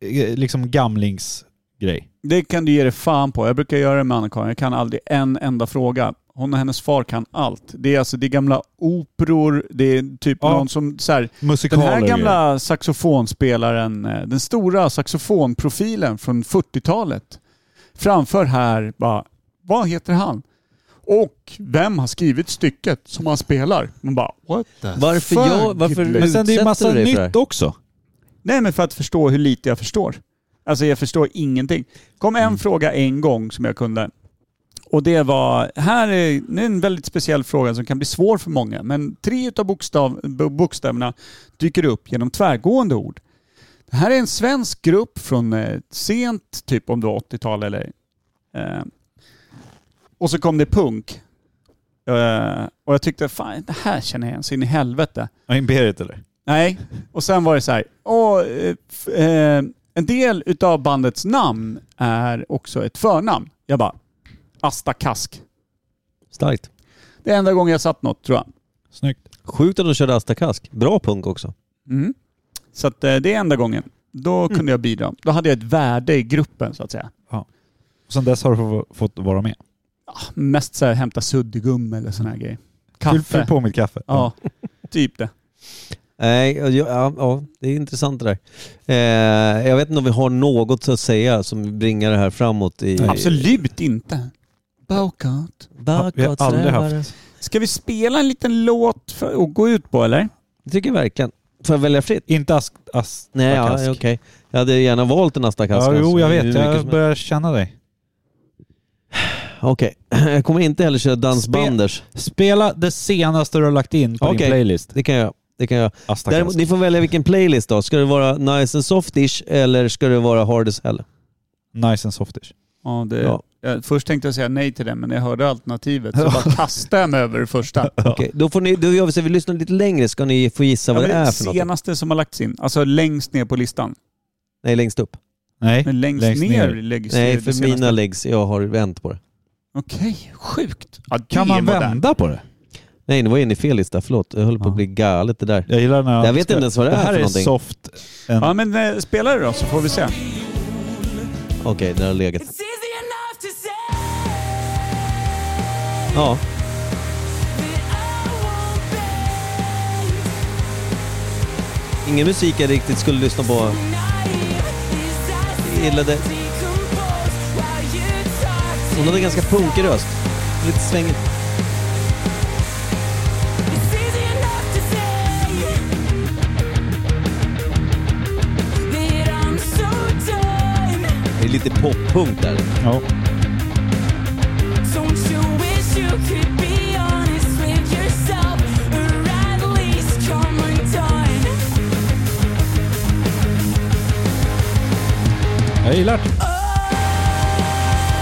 eh, liksom gamlingsgrej?
Det kan du ge dig fan på. Jag brukar göra det med Anna-Karin. Jag kan aldrig en enda fråga. Hon och hennes far kan allt. Det är alltså det är gamla operor, det är typ
Ja.
någon som så här, Den
Musikaler?
här
och grejer.
gamla saxofonspelaren, eh, den stora saxofonprofilen från 40-talet framför här bara, vad heter han? Och vem har skrivit stycket som han spelar? Man bara, what the
Varför,
fuck?
jag, varför
Men sen
utsätter
det är ju
du
massa
dig för det här?
nytt också.
Nej men för att förstå hur lite jag förstår. Alltså jag förstår ingenting. kom en fråga en gång som jag kunde. Och det var, här är, nu är en väldigt speciell fråga som kan bli svår för många. Men tre utav bokstav, bo- bokstäverna dyker upp genom tvärgående ord. Det här är en svensk grupp från eh, sent, typ om det var 80-tal eller... Eh, och så kom det punk. Eh, och jag tyckte, fan det här känner jag igen så in i helvete.
Ja, Imperiet eller?
Nej, och sen var det så här. Och, eh, f- eh, en del utav bandets namn är också ett förnamn. Jag bara, Asta Kask.
Starkt.
Det är enda gången jag satt något tror jag.
Snyggt.
Sjukt att de körde Asta Kask. Bra punk också.
Mm. Så att, eh, det är enda gången. Då kunde jag bidra. Då hade jag ett värde i gruppen så att säga.
Och sen dess har du få- fått vara med.
Mest så här, hämta suddgum eller sån här grej. Kaffe.
Fyll, fyll på mitt kaffe.
Ja, typ det.
Nej, ja, ja, ja, det är intressant det där. Eh, jag vet inte om vi har något att säga som bringar det här framåt i...
Absolut inte. Baukat.
Ja, vi har aldrig
Bakåtsträvare.
haft.
Ska vi spela en liten låt för att gå ut på eller?
Det tycker jag verkligen. Får jag välja fritt?
Inte ask, ask,
Nej, ja,
Kask.
okej. Jag hade gärna valt en Asta Kask.
Ja,
alltså.
jo, jag
Det är hur
vet.
mycket
Jag
som-
börjar känna dig.
Okej. Jag kommer inte heller köra dansbanders.
Spela det senaste du har lagt in på din
Okej.
playlist.
Det kan jag. Det kan jag.
Asta
Däremot,
Däremot,
ni får välja vilken playlist då. Ska det vara nice and softish eller ska det vara hard as hell?
Nice and softish.
Ja, det,
Ja.
Jag, först tänkte jag säga nej till den, men när jag hörde alternativet så bara kastade jag mig över det första.
Okej, då får ni, då gör vi så att vi lyssnar lite längre ska ni få gissa
Ja,
vad
men
det är
det
för något.
senaste som har lagts in, alltså längst ner på listan.
Nej, längst upp.
Nej,
Men längst,
Längst
ner,
ner.
läggs
Nej,
det
för
senaste.
mina läggs. Jag har vänt på det.
Okej, sjukt. Ja, det
Kan
är
man
modernt.
vända på det?
Nej, det var inne i fel lista. Förlåt. Jag höll på att bli galet det där.
Jag gillar när
Jag vet inte ens vad det är
Det här
för
är
någonting.
soft. En,
Ja, men eh, spela det då så får vi se.
Okej, det har legat.
It's easy enough to say
Ja,
that I won't bend.
ingen musik jag riktigt skulle lyssna på.
Naive is I
Jag gillade...
decompose while you talk to
Hon hade ganska punkig röst. Lite svängigt.
It's easy enough to say that I'm so done.
Det är lite poppunk där.
ja.
Don't you wish you could be honest with yourself, or at least come undone?
Jag gillar det.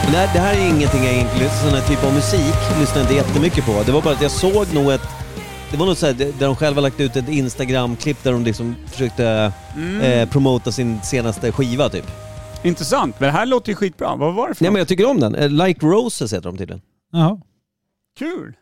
Men Det här, det här är ingenting jag egentligen, sån här typ av musik, lyssnar inte jättemycket på. Det var bara att jag såg nog ett... Det var något så här, där de själva lagt ut ett Instagram-klipp där de liksom försökte eh, promota sin senaste skiva typ.
Intressant, men det här låter ju skitbra. Vad var det för
Nej men
något?
jag tycker om den. Eh, Like Roses heter de tydligen.
Jaha.
Kul!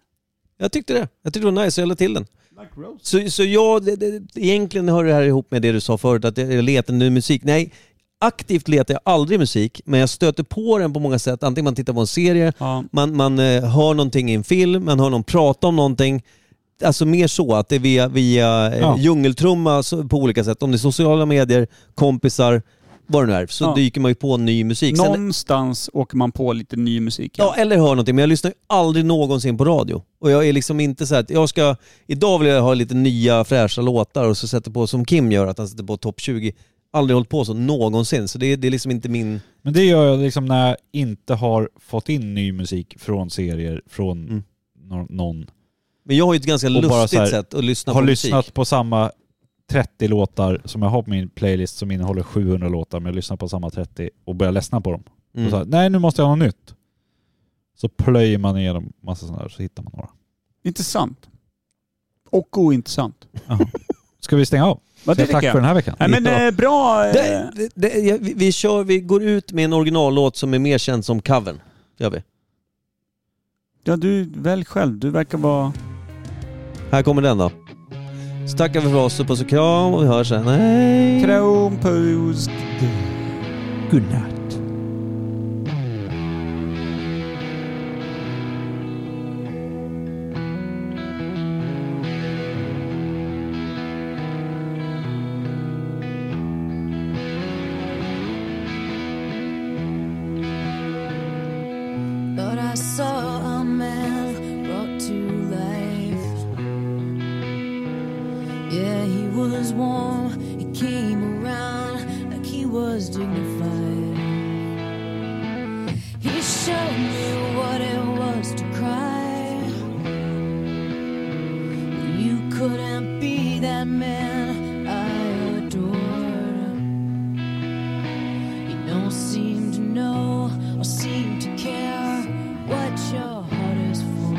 Jag tyckte det. Jag tyckte det var nice, jag la till den.
Like Rose.
Så, så jag, det, det, egentligen hör det här ihop med det du sa förut, att jag letar ny musik. Nej, aktivt letar jag aldrig musik, men jag stöter på den på många sätt. Antingen man tittar på en serie,
Ja.
man, man eh, hör någonting i en film, man hör någon prata om någonting. Alltså mer så att det är via, via eh,
Ja.
djungeltrumma så- på olika sätt. Om det är sociala medier, kompisar, vad det nu är, så
Ja.
dyker man ju på ny musik. Sen,
Någonstans åker man på lite ny musik.
Ja, eller hör någonting. Men jag lyssnar ju aldrig någonsin på radio. Och jag är liksom inte så här att jag ska... Idag vill jag ha lite nya fräscha låtar och så sätter på, som Kim gör, att han sätter på topp 20. Aldrig hållit på så någonsin. Så det, är- det är liksom inte min...
Men det gör jag liksom när jag inte har fått in ny musik från serier, från
Mm.
nå- någon.
Men jag har ju ett ganska
Och bara så
lustigt
här,
sätt att lyssna
har
på
lyssnat
musik.
på samma 30 låtar som jag har på min playlist som innehåller 700 låtar, men jag lyssnar på samma 30 och börjar ledsna på dem. Och så här,
Mm.
nej nu måste jag ha något nytt. Så plöjer man igenom massa sådana där så hittar man några.
eh-
Intressant. Och ointressant.
Ska vi stänga av?
Men det
Säg tack
tycker jag.
för den här veckan.
Nej men eh, bra... eh,
Det, det, det, jag- vi, vi, kör, vi går ut med en originallåt som är mer känd som covern. Gör vi.
Ja du, välj själv. Du verkar vara...
Här kommer den då. Så tackar vi för oss, puss och kram och vi hörs sen. Hej!
Krom, puss... Godnatt.
Thought I saw a man brought to life. Yeah, he was warm, he came around like he was dignified. He showed me what it was to cry. When you couldn't be that man I adored. You don't seem to know or seem to care what your heart is for.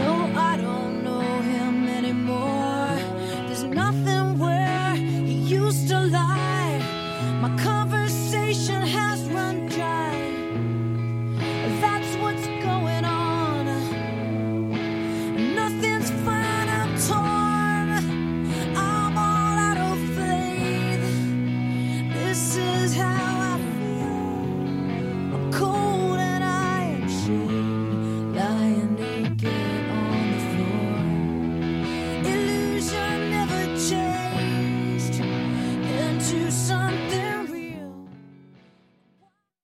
No, I don't know him anymore. There's nothing worth.